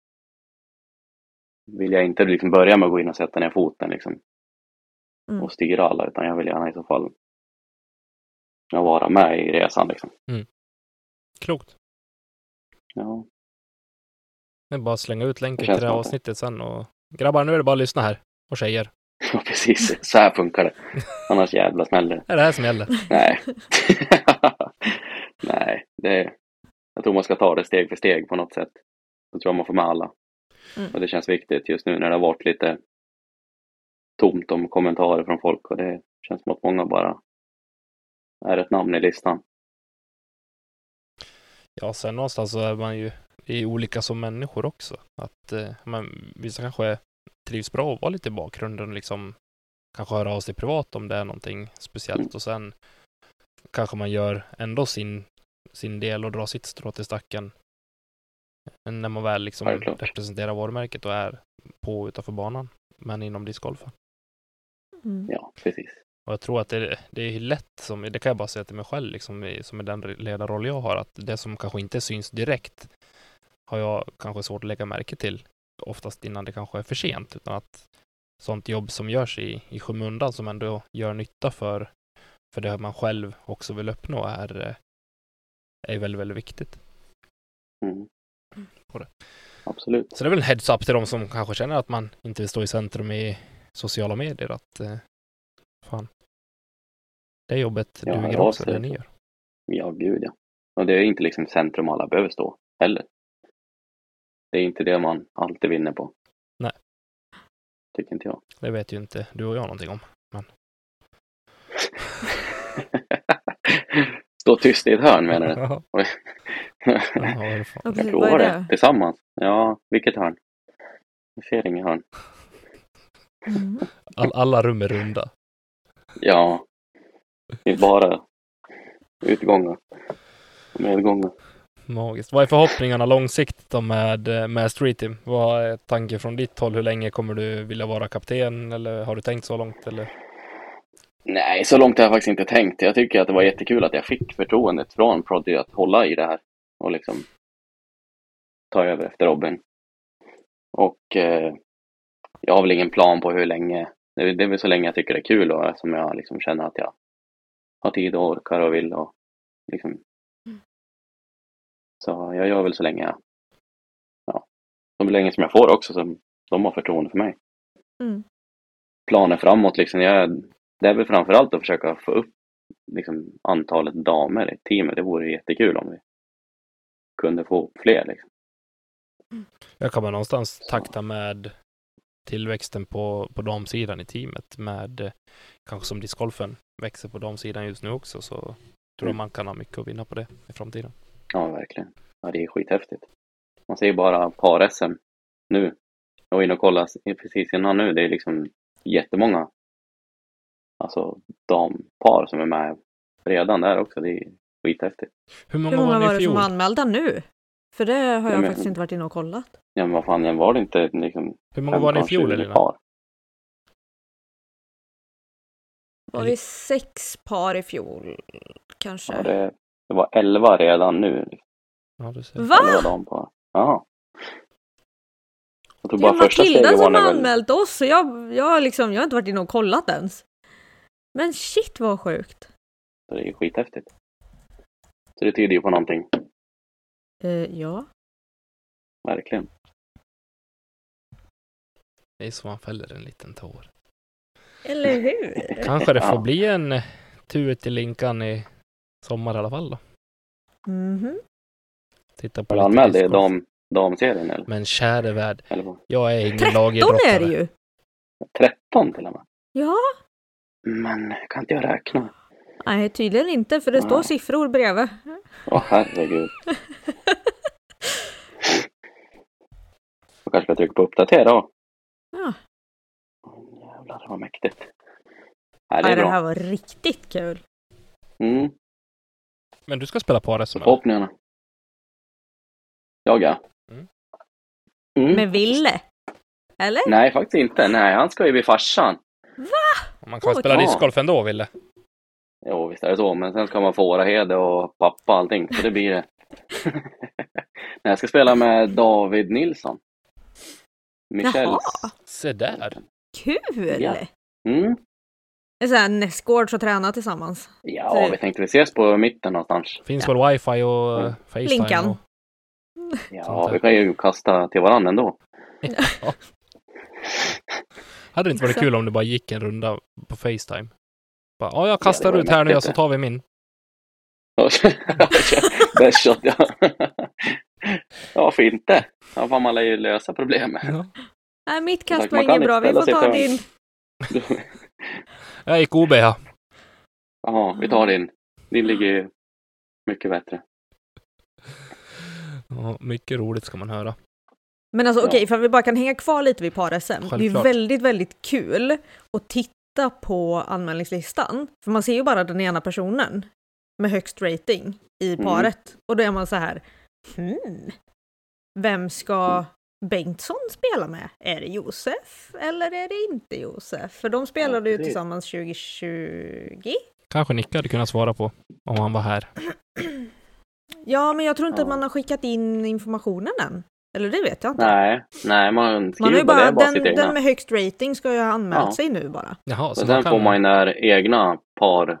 [SPEAKER 2] vill jag inte liksom börja med att gå in och sätta ner foten liksom,
[SPEAKER 3] Mm.
[SPEAKER 2] och styra alla utan jag vill gärna i så fall ja, vara med i resan. Liksom.
[SPEAKER 1] Klokt.
[SPEAKER 2] Ja,
[SPEAKER 1] Det är bara att slänga ut länken
[SPEAKER 2] Det
[SPEAKER 1] till
[SPEAKER 2] känns
[SPEAKER 1] det här
[SPEAKER 2] bra.
[SPEAKER 1] avsnittet sen och... Grabbar, nu är det bara att lyssna här. Och tjejer.
[SPEAKER 2] ja, precis. Så här funkar det. Annars jävla smäller det.
[SPEAKER 1] Det är det här som gäller.
[SPEAKER 2] Nej. Nej, det, jag tror man ska ta det steg för steg på något sätt. Då tror jag man får med alla.
[SPEAKER 3] Mm.
[SPEAKER 2] Och det känns viktigt just nu när det har varit lite tomt om kommentarer från folk och det känns som att många bara är ett namn i listan.
[SPEAKER 1] Ja, sen någonstans så är man ju vi är olika som människor också. Att eh, men, vissa kanske trivs bra att vara lite i bakgrunden och liksom kanske höra av sig privat om det är någonting speciellt och sen kanske man gör ändå sin, sin del och drar sitt strå till stacken när man väl liksom
[SPEAKER 2] Självklart.
[SPEAKER 1] representerar varumärket och är på utanför banan men inom discgolfen.
[SPEAKER 3] Mm.
[SPEAKER 2] Ja, precis.
[SPEAKER 1] Och jag tror att det, det är lätt, som, det kan jag bara säga till mig själv, liksom, i- som i den ledarroll jag har, att det som kanske inte syns direkt har jag kanske svårt att lägga märke till, oftast innan det kanske är för sent, utan att sånt jobb som görs i, i skymundan som ändå gör nytta för, för det man själv också vill uppnå är, eh, är väldigt, väldigt viktigt.
[SPEAKER 2] Mm.
[SPEAKER 1] På det.
[SPEAKER 2] Absolut.
[SPEAKER 1] Så det är väl en heads-up till de som kanske känner att man inte vill stå i centrum i sociala medier, att eh, fan, det jobbet
[SPEAKER 2] Ja,
[SPEAKER 1] duger
[SPEAKER 2] hör av
[SPEAKER 1] också,
[SPEAKER 2] sig.
[SPEAKER 1] det ni gör.
[SPEAKER 2] Ja, gud ja. Och det är inte liksom centrum alla behöver stå heller. Det är inte det man alltid vinner på.
[SPEAKER 1] Nej.
[SPEAKER 2] Tycker inte jag.
[SPEAKER 1] Det vet ju inte du och jag någonting om.
[SPEAKER 2] Stå tyst i ett hörn menar du?
[SPEAKER 1] Ja, ja, vad är det fan?
[SPEAKER 3] Ja,
[SPEAKER 2] Jag
[SPEAKER 3] precis, vad
[SPEAKER 2] provar
[SPEAKER 3] är
[SPEAKER 2] det.
[SPEAKER 3] det?
[SPEAKER 2] Tillsammans. Ja, vilket hörn? Jag ser inget hörn.
[SPEAKER 3] Mm.
[SPEAKER 1] All, alla rum är runda.
[SPEAKER 2] Ja. Det är bara utgångar. Medgångar.
[SPEAKER 1] Magiskt. Vad är förhoppningarna långsiktigt då med, eh, med Street Team? Vad är tanken från ditt håll? Hur länge kommer du vilja vara kapten? Eller har du tänkt så långt? Eller?
[SPEAKER 2] Nej, så långt har jag faktiskt inte tänkt. Jag tycker att det var jättekul att jag fick förtroendet från Proddy att hålla i det här och liksom ta över efter Robin. Och eh, jag har väl ingen plan på hur länge. Det är, det är väl så länge jag tycker det är kul och som jag liksom känner att jag har tid och orkar och vill och liksom. Så jag gör väl så länge jag, ja, så länge som jag får också som de har förtroende för mig.
[SPEAKER 3] Mm.
[SPEAKER 2] Planer framåt liksom. Jag, det är väl framförallt att försöka få upp liksom, antalet damer i teamet. Det vore jättekul om vi kunde få fler. Liksom.
[SPEAKER 1] Jag kommer någonstans takta med tillväxten på, på damsidan i teamet med eh, kanske som discgolfen växer på damsidan just nu också så tror jag
[SPEAKER 2] Mm.
[SPEAKER 1] man kan ha mycket att vinna på det i framtiden.
[SPEAKER 2] Ja, verkligen. Ja, det är skithäftigt. Man ser ju bara par-SM nu. Jag var inne och kollade s- precis innan nu. Det är liksom jättemånga alltså, dampar som är med redan där också. Det är skithäftigt.
[SPEAKER 1] Hur många,
[SPEAKER 3] Hur många
[SPEAKER 1] var
[SPEAKER 3] var
[SPEAKER 1] ni i
[SPEAKER 3] det som
[SPEAKER 1] fjol?
[SPEAKER 3] var anmälda nu? För det har jag
[SPEAKER 2] men-
[SPEAKER 3] faktiskt inte varit inne och kollat.
[SPEAKER 2] Ja, men vad fan, jag var det inte liksom
[SPEAKER 1] Hur många var ni i
[SPEAKER 2] 15,
[SPEAKER 1] fjol
[SPEAKER 2] 20
[SPEAKER 1] Elina?
[SPEAKER 2] par?
[SPEAKER 3] Var det sex par i fjol? Kanske?
[SPEAKER 2] Ja, det, det var 11 redan nu.
[SPEAKER 1] Ja, du ser.
[SPEAKER 3] Va?
[SPEAKER 2] Eller vad de på. Ja. Jag tror
[SPEAKER 3] Det är
[SPEAKER 2] bara första
[SPEAKER 3] Matilda
[SPEAKER 2] steget var
[SPEAKER 3] som
[SPEAKER 2] när
[SPEAKER 3] har
[SPEAKER 2] väl-
[SPEAKER 3] anmält oss och jag, jag, har liksom, jag har inte varit inne och kollat ens. Men shit vad sjukt.
[SPEAKER 2] Så det är ju skithäftigt. Så det tyder ju på någonting,
[SPEAKER 3] Eh, ja.
[SPEAKER 2] verkligen.
[SPEAKER 1] Det är så man fäller en liten tår.
[SPEAKER 3] Eller hur?
[SPEAKER 1] Kanske det får
[SPEAKER 2] Ja.
[SPEAKER 1] bli en eh, tur till Linkan i sommar i alla fall då.
[SPEAKER 3] Mhm.
[SPEAKER 1] Titta på
[SPEAKER 2] Har du
[SPEAKER 1] lite
[SPEAKER 2] anmält dig i
[SPEAKER 1] discgolf.
[SPEAKER 2] dam, damserien eller?
[SPEAKER 1] Men käre värld,
[SPEAKER 2] eller vad?
[SPEAKER 1] jag är ingen
[SPEAKER 3] 13 är det
[SPEAKER 1] lagidrottare.
[SPEAKER 3] ju!
[SPEAKER 2] 13 till och med?
[SPEAKER 3] Ja,
[SPEAKER 2] Men kan inte jag räkna?
[SPEAKER 3] nej tydligen inte för det står
[SPEAKER 2] Wow.
[SPEAKER 3] siffror bredvid.
[SPEAKER 2] Åh herregud. Jag kanske ska trycka på uppdatera då.
[SPEAKER 3] Ja.
[SPEAKER 2] Åh, Jävlar vad mäktigt. Nej, det
[SPEAKER 3] Nej,
[SPEAKER 2] är
[SPEAKER 3] det
[SPEAKER 2] bra.
[SPEAKER 3] här var riktigt kul.
[SPEAKER 2] Mm,
[SPEAKER 1] Men du ska spela par SM? eller?
[SPEAKER 2] förhoppningarna. Jag ja.
[SPEAKER 1] Mm.
[SPEAKER 2] Mm.
[SPEAKER 3] Med Ville. Eller?
[SPEAKER 2] Nej, faktiskt inte. Nej, han ska ju bli farsan.
[SPEAKER 1] Man kan
[SPEAKER 3] Oj.
[SPEAKER 1] spela
[SPEAKER 2] Ja.
[SPEAKER 1] discgolf ändå, Ville.
[SPEAKER 2] Jo, visst är det så. Men sen ska man få Årahede och pappa och allting. Så det blir det. Nej, jag ska spela med David Nilsson. Michels.
[SPEAKER 3] Jaha.
[SPEAKER 1] Se där.
[SPEAKER 3] Kul!
[SPEAKER 2] Ja. Mm.
[SPEAKER 3] Det är så här nästgårds och träna tillsammans.
[SPEAKER 2] Ja, vi tänkte vi ses på mitten någonstans.
[SPEAKER 1] Finns
[SPEAKER 3] Ja.
[SPEAKER 1] väl wifi och eh,
[SPEAKER 2] Mm.
[SPEAKER 1] facetime?
[SPEAKER 3] Linkan.
[SPEAKER 1] Och...
[SPEAKER 2] Ja,
[SPEAKER 1] Sånt där.
[SPEAKER 2] vi kan ju kasta till varandra ändå.
[SPEAKER 1] Ja. Hade det inte varit
[SPEAKER 3] Exakt.
[SPEAKER 1] kul om du bara gick en runda på facetime? Bara, ja, jag
[SPEAKER 2] det
[SPEAKER 1] kastar
[SPEAKER 2] var
[SPEAKER 1] ut här nu
[SPEAKER 2] mäktigt
[SPEAKER 1] så
[SPEAKER 2] det.
[SPEAKER 1] tar vi min.
[SPEAKER 2] Bäst shot, ja. ja, varför inte? Ja, fan, man lär ju lösa problemet.
[SPEAKER 1] Ja.
[SPEAKER 3] Nej, mitt
[SPEAKER 2] Man
[SPEAKER 3] kast var
[SPEAKER 2] kan
[SPEAKER 3] inget
[SPEAKER 2] inte
[SPEAKER 3] bra. Vi
[SPEAKER 2] ställa
[SPEAKER 3] får
[SPEAKER 2] sig
[SPEAKER 3] ta
[SPEAKER 2] fram.
[SPEAKER 3] din.
[SPEAKER 1] Jag gick OB, ja.
[SPEAKER 2] Ja, vi tar din. Din ligger ju mycket bättre.
[SPEAKER 1] ja. Mycket roligt ska man höra.
[SPEAKER 3] Men alltså
[SPEAKER 2] Ja.
[SPEAKER 3] okej, för att vi bara kan hänga kvar lite vid par-SM. Det är ju
[SPEAKER 1] Självklart.
[SPEAKER 3] väldigt, väldigt kul att titta titta på anmälningslistan, för man ser ju bara den ena personen med högst rating i
[SPEAKER 2] Mm.
[SPEAKER 3] paret. Och då är man så här, hmm, vem ska Bengtsson spela med? Är det Josef eller är det inte Josef? För de spelade ju
[SPEAKER 2] det-
[SPEAKER 3] tillsammans 2020.
[SPEAKER 1] Kanske Nicke hade kunnat svara på om han var här.
[SPEAKER 3] Ja, men jag tror inte
[SPEAKER 2] Ja.
[SPEAKER 3] att man har skickat in informationen än. Eller det vet jag inte.
[SPEAKER 2] Nej, nej, man
[SPEAKER 3] man har
[SPEAKER 2] skriver
[SPEAKER 3] ju
[SPEAKER 2] bara, det,
[SPEAKER 3] bara,
[SPEAKER 2] är bara
[SPEAKER 3] den,
[SPEAKER 2] sitt egna.
[SPEAKER 3] den med högst rating ska ju ha anmält
[SPEAKER 2] Ja.
[SPEAKER 3] sig nu bara.
[SPEAKER 1] Jaha, så
[SPEAKER 2] och sen
[SPEAKER 1] man kan...
[SPEAKER 2] får man ju när egna par,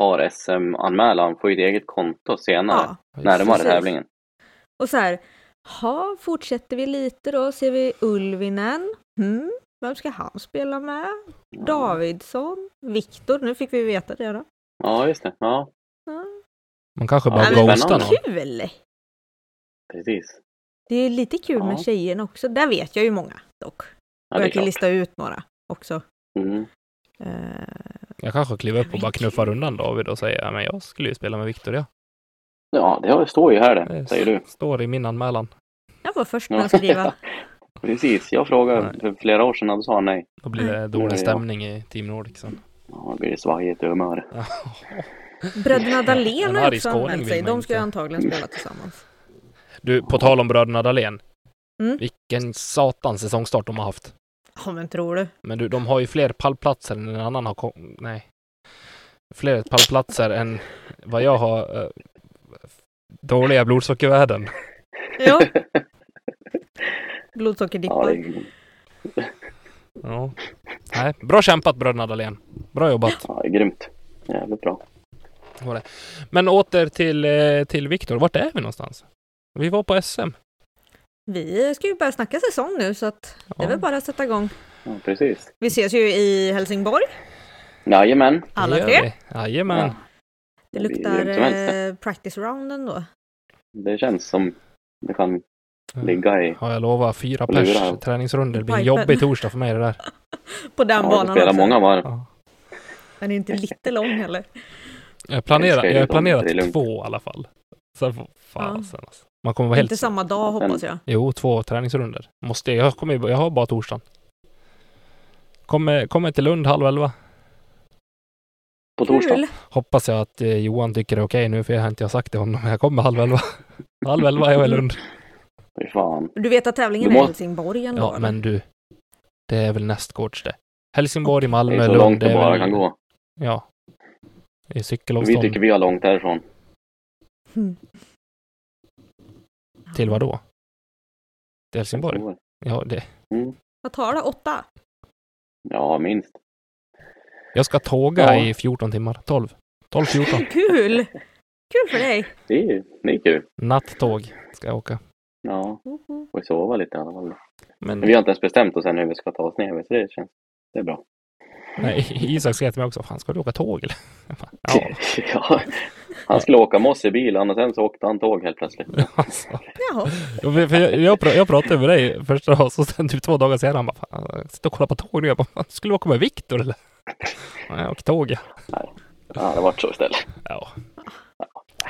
[SPEAKER 2] par SM-anmälan, får ju ett eget konto senare,
[SPEAKER 3] Ja.
[SPEAKER 2] närmare
[SPEAKER 3] precis.
[SPEAKER 2] tävlingen.
[SPEAKER 3] Och så här, ha, fortsätter vi lite då, ser vi Ulvinen. Hmm, vem ska han spela med? Davidsson? Viktor? Nu fick vi veta det då.
[SPEAKER 2] Ja, just det. Ja,
[SPEAKER 1] Man kanske bara
[SPEAKER 2] Ja,
[SPEAKER 3] men-
[SPEAKER 1] ghostar någon.
[SPEAKER 3] Kul!
[SPEAKER 2] precis.
[SPEAKER 3] Det är lite kul med
[SPEAKER 2] Ja.
[SPEAKER 3] tjejerna också. Där vet jag ju många dock.
[SPEAKER 2] Ja, det
[SPEAKER 3] Och
[SPEAKER 2] är
[SPEAKER 3] jag kan
[SPEAKER 2] klart.
[SPEAKER 3] lista ut några också.
[SPEAKER 2] Mm.
[SPEAKER 3] Eh,
[SPEAKER 1] Jag kanske kliver upp och bara knuffar undan David och säger ja, men jag skulle ju spela med Viktor, ja.
[SPEAKER 2] Ja, det har- står ju här det,
[SPEAKER 1] Det
[SPEAKER 2] säger du.
[SPEAKER 1] står i min anmälan.
[SPEAKER 3] jag var först med att skriva.
[SPEAKER 2] Precis, jag frågade
[SPEAKER 1] Nej.
[SPEAKER 2] för flera år sedan och då sa han nej.
[SPEAKER 1] Då blir det
[SPEAKER 2] Mm. Ja, ja.
[SPEAKER 1] dålig stämning i Team Nordic sen.
[SPEAKER 2] Ja, då blir det svajigt i humör.
[SPEAKER 3] Bröderna Dahlén
[SPEAKER 1] En
[SPEAKER 3] har
[SPEAKER 1] arg
[SPEAKER 3] också
[SPEAKER 1] skåning
[SPEAKER 3] anmält
[SPEAKER 1] vill
[SPEAKER 3] sig.
[SPEAKER 1] man
[SPEAKER 3] De ska ju
[SPEAKER 1] inte.
[SPEAKER 3] antagligen spela tillsammans.
[SPEAKER 1] Du, på tal om bröderna Dahlén.
[SPEAKER 3] Mm.
[SPEAKER 1] Vilken satans säsongstart de har haft.
[SPEAKER 3] Ja men tror du?
[SPEAKER 1] Men du, de har ju fler pallplatser än en annan har kom... Nej. Fler pallplatser än vad jag har... eh, dåliga blodsockervärden.
[SPEAKER 3] Ja.
[SPEAKER 2] Ja, det
[SPEAKER 3] Blodsockerdippar.
[SPEAKER 2] är,
[SPEAKER 1] Ja. Nej, bra kämpat bröderna Dahlén. Bra jobbat.
[SPEAKER 2] ja, det är grymt. Jävligt bra.
[SPEAKER 1] Men åter till, eh, till Viktor. Vart är vi någonstans? Vi var på SM.
[SPEAKER 3] Vi ska ju börja snacka säsong nu så att det är
[SPEAKER 1] Ja.
[SPEAKER 3] väl bara att sätta igång.
[SPEAKER 2] Ja, precis.
[SPEAKER 3] Vi ses ju i Helsingborg,
[SPEAKER 2] Jajamän.
[SPEAKER 3] alla
[SPEAKER 1] Det gör
[SPEAKER 3] tre.
[SPEAKER 1] vi. Jajamän.
[SPEAKER 2] Ja.
[SPEAKER 3] Det
[SPEAKER 2] Det blir
[SPEAKER 3] luktar
[SPEAKER 2] grymt som helst
[SPEAKER 3] eh, practice rounden då.
[SPEAKER 2] Det känns som det kan
[SPEAKER 1] Ja.
[SPEAKER 2] ligga i...
[SPEAKER 1] Har jag lovat. Fyra
[SPEAKER 2] Och lura
[SPEAKER 1] pers
[SPEAKER 2] han.
[SPEAKER 1] träningsrundor. Det blir en
[SPEAKER 3] Pipen.
[SPEAKER 1] jobbig torsdag för mig det där.
[SPEAKER 3] På den
[SPEAKER 2] Ja, det
[SPEAKER 3] banan
[SPEAKER 2] spelar många varv.
[SPEAKER 1] Ja.
[SPEAKER 3] Den är inte lite lång heller.
[SPEAKER 1] Jag planerar,
[SPEAKER 2] Älskar ju
[SPEAKER 1] jag har
[SPEAKER 2] dem, det är
[SPEAKER 1] planerat
[SPEAKER 2] lugnt.
[SPEAKER 1] två i alla fall. Sen får
[SPEAKER 3] Ja.
[SPEAKER 1] fasen alltså. Man kommer vara helt...
[SPEAKER 3] Inte samma dag hoppas jag.
[SPEAKER 1] Jo, två träningsrunder. Måste jag, jag, kommer, ju- jag har bara torsdagen. Kommer, kommer till Lund halv elva.
[SPEAKER 2] På torsdag.
[SPEAKER 3] Kul!
[SPEAKER 1] Hoppas jag att eh, Johan tycker det är okej nu för jag har inte sagt till honom. Jag kommer halv elva. halv elva är jag i Lund.
[SPEAKER 2] Fy fan.
[SPEAKER 3] Du vet att tävlingen
[SPEAKER 2] Du
[SPEAKER 3] är i
[SPEAKER 2] må-
[SPEAKER 3] Helsingborg ändå?
[SPEAKER 1] Ja,
[SPEAKER 3] eller?
[SPEAKER 1] men du. Det är väl nästgårds det. Helsingborg,
[SPEAKER 2] Det
[SPEAKER 1] Malmö,
[SPEAKER 2] är så
[SPEAKER 1] Lund.
[SPEAKER 2] långt det
[SPEAKER 1] är
[SPEAKER 2] bara
[SPEAKER 1] väl-
[SPEAKER 2] kan gå.
[SPEAKER 1] Ja. I
[SPEAKER 2] Vi
[SPEAKER 1] cykelavstånd
[SPEAKER 2] tycker vi har långt därifrån.
[SPEAKER 3] Mm.
[SPEAKER 1] till vad då? Till Helsingborg? Ja, det.
[SPEAKER 3] Vad tar det? Åtta?
[SPEAKER 2] Ja, minst.
[SPEAKER 1] Jag ska tåga
[SPEAKER 2] Ja.
[SPEAKER 1] i 14 timmar. 12. 12-14.
[SPEAKER 3] Kul! Kul för dig!
[SPEAKER 2] Det är, det är kul.
[SPEAKER 1] Nattåg ska jag åka.
[SPEAKER 2] Ja, får sova lite i alla fall.
[SPEAKER 1] Men
[SPEAKER 2] Men vi har inte ens bestämt oss än hur vi ska ta oss ner, så det känns... Det är bra.
[SPEAKER 1] nej, Isak skrev till mig också, fan ska du åka tåg eller? Jag bara, Ja,
[SPEAKER 2] Ja. Han skulle åka med oss i bilen och sen så åkte han tåg helt plötsligt.
[SPEAKER 1] alltså.
[SPEAKER 3] Jaha,
[SPEAKER 1] Ja, för- för jag, jag, pra- jag pratade med dig första dagen, så sen typ två dagar senare, han bara, fan, jag sitter och kollar på tåg nu. Jag bara, fan, skulle du åka med Viktor eller? Ja, jag åker tåg ja.
[SPEAKER 2] Ja, det vart så istället.
[SPEAKER 1] ja.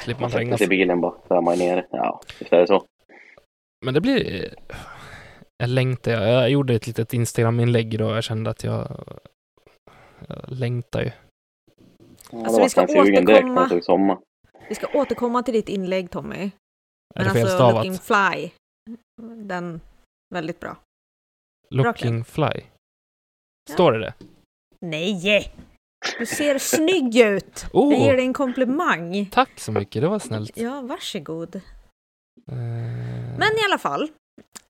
[SPEAKER 1] Slipper man
[SPEAKER 2] Man
[SPEAKER 1] trängas.
[SPEAKER 2] sätter sig i bilen bara, så är man nere. Ja, visst är det
[SPEAKER 3] Alltså,
[SPEAKER 2] så.
[SPEAKER 1] Men det blir... eh, Jag längtar. Jag, jag gjorde ett litet Instagram-inlägg idag och jag kände att jag... Jag längtar ju.
[SPEAKER 2] Ja,
[SPEAKER 3] Alltså,
[SPEAKER 2] då
[SPEAKER 3] vi ska
[SPEAKER 2] vart man sugen direkt när
[SPEAKER 3] återkomma.
[SPEAKER 2] det tog sommar.
[SPEAKER 3] vi ska återkomma till ditt inlägg Tommy.
[SPEAKER 1] Är
[SPEAKER 3] Men
[SPEAKER 1] det
[SPEAKER 3] alltså,
[SPEAKER 1] felstavat?
[SPEAKER 3] Looking
[SPEAKER 1] Looking,
[SPEAKER 3] Fly, den, väldigt bra.
[SPEAKER 1] fly.
[SPEAKER 3] Ja.
[SPEAKER 1] Står det det?
[SPEAKER 3] Nej! Du ser snygg ut! Jag ger
[SPEAKER 1] Oh,
[SPEAKER 3] dig en komplimang.
[SPEAKER 1] tack så mycket. Det var snällt.
[SPEAKER 3] Ja, varsågod.
[SPEAKER 1] Eh,
[SPEAKER 3] Men i alla fall.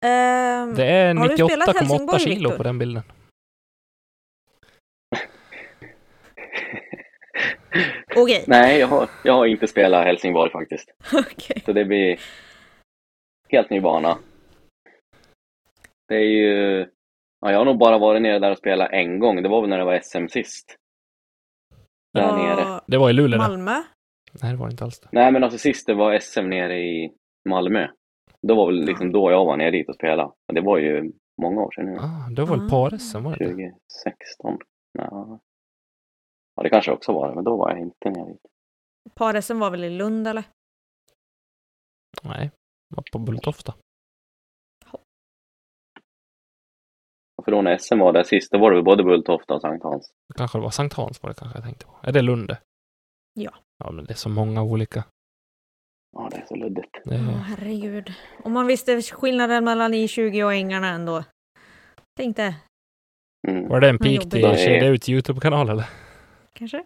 [SPEAKER 3] ehm,
[SPEAKER 1] det är
[SPEAKER 3] har du spelat
[SPEAKER 1] 98,8
[SPEAKER 3] Helsingborg,
[SPEAKER 1] kilo
[SPEAKER 3] Viktor?
[SPEAKER 1] på den bilden.
[SPEAKER 3] Okej,
[SPEAKER 2] Nej, jag har, jag har inte spelat Helsingborg faktiskt.
[SPEAKER 3] okej.
[SPEAKER 2] Så det blir helt ny bana. Det är ju... Ja, jag har nog bara varit nere där och spelat en gång. Det var väl när det var SM sist. Där
[SPEAKER 1] Ah.
[SPEAKER 3] Ja,
[SPEAKER 2] nere.
[SPEAKER 1] Det var i Luleå det.
[SPEAKER 3] Malmö.
[SPEAKER 1] Nej, det var det inte alls det.
[SPEAKER 2] Nej, men alltså sist det var SM nere i Malmö. Då var väl liksom då jag var nere dit och spelade. Och Det var ju många år sedan nu.
[SPEAKER 1] Ah, det var väl
[SPEAKER 3] Ah.
[SPEAKER 1] par-SM var det inte?
[SPEAKER 2] 2016? Ja. ja, det kanske också var det, men då var jag inte nere dit.
[SPEAKER 3] Paresen var väl i Lund eller?
[SPEAKER 1] Nej, det var på Bulltofta.
[SPEAKER 2] för då när SM var där sist, då var det väl både Bulltofta och Sankt Hans.
[SPEAKER 1] Kanske det var Sankt Hans var det kanske jag tänkte på. Är det Lunde?
[SPEAKER 3] Ja.
[SPEAKER 1] Ja, men det är så många olika. Eh,
[SPEAKER 2] Ja, det är så luddigt.
[SPEAKER 1] Det
[SPEAKER 3] Ja,
[SPEAKER 1] är...
[SPEAKER 3] herregud. Om man visste skillnaden mellan I20 och Ängarna ändå. Tänk det,
[SPEAKER 2] Mm.
[SPEAKER 1] Var det en
[SPEAKER 3] Vad
[SPEAKER 1] pik
[SPEAKER 3] jobbigt.
[SPEAKER 1] till
[SPEAKER 2] Nej.
[SPEAKER 1] Kedja Uts YouTube-kanal eller?
[SPEAKER 3] kanske?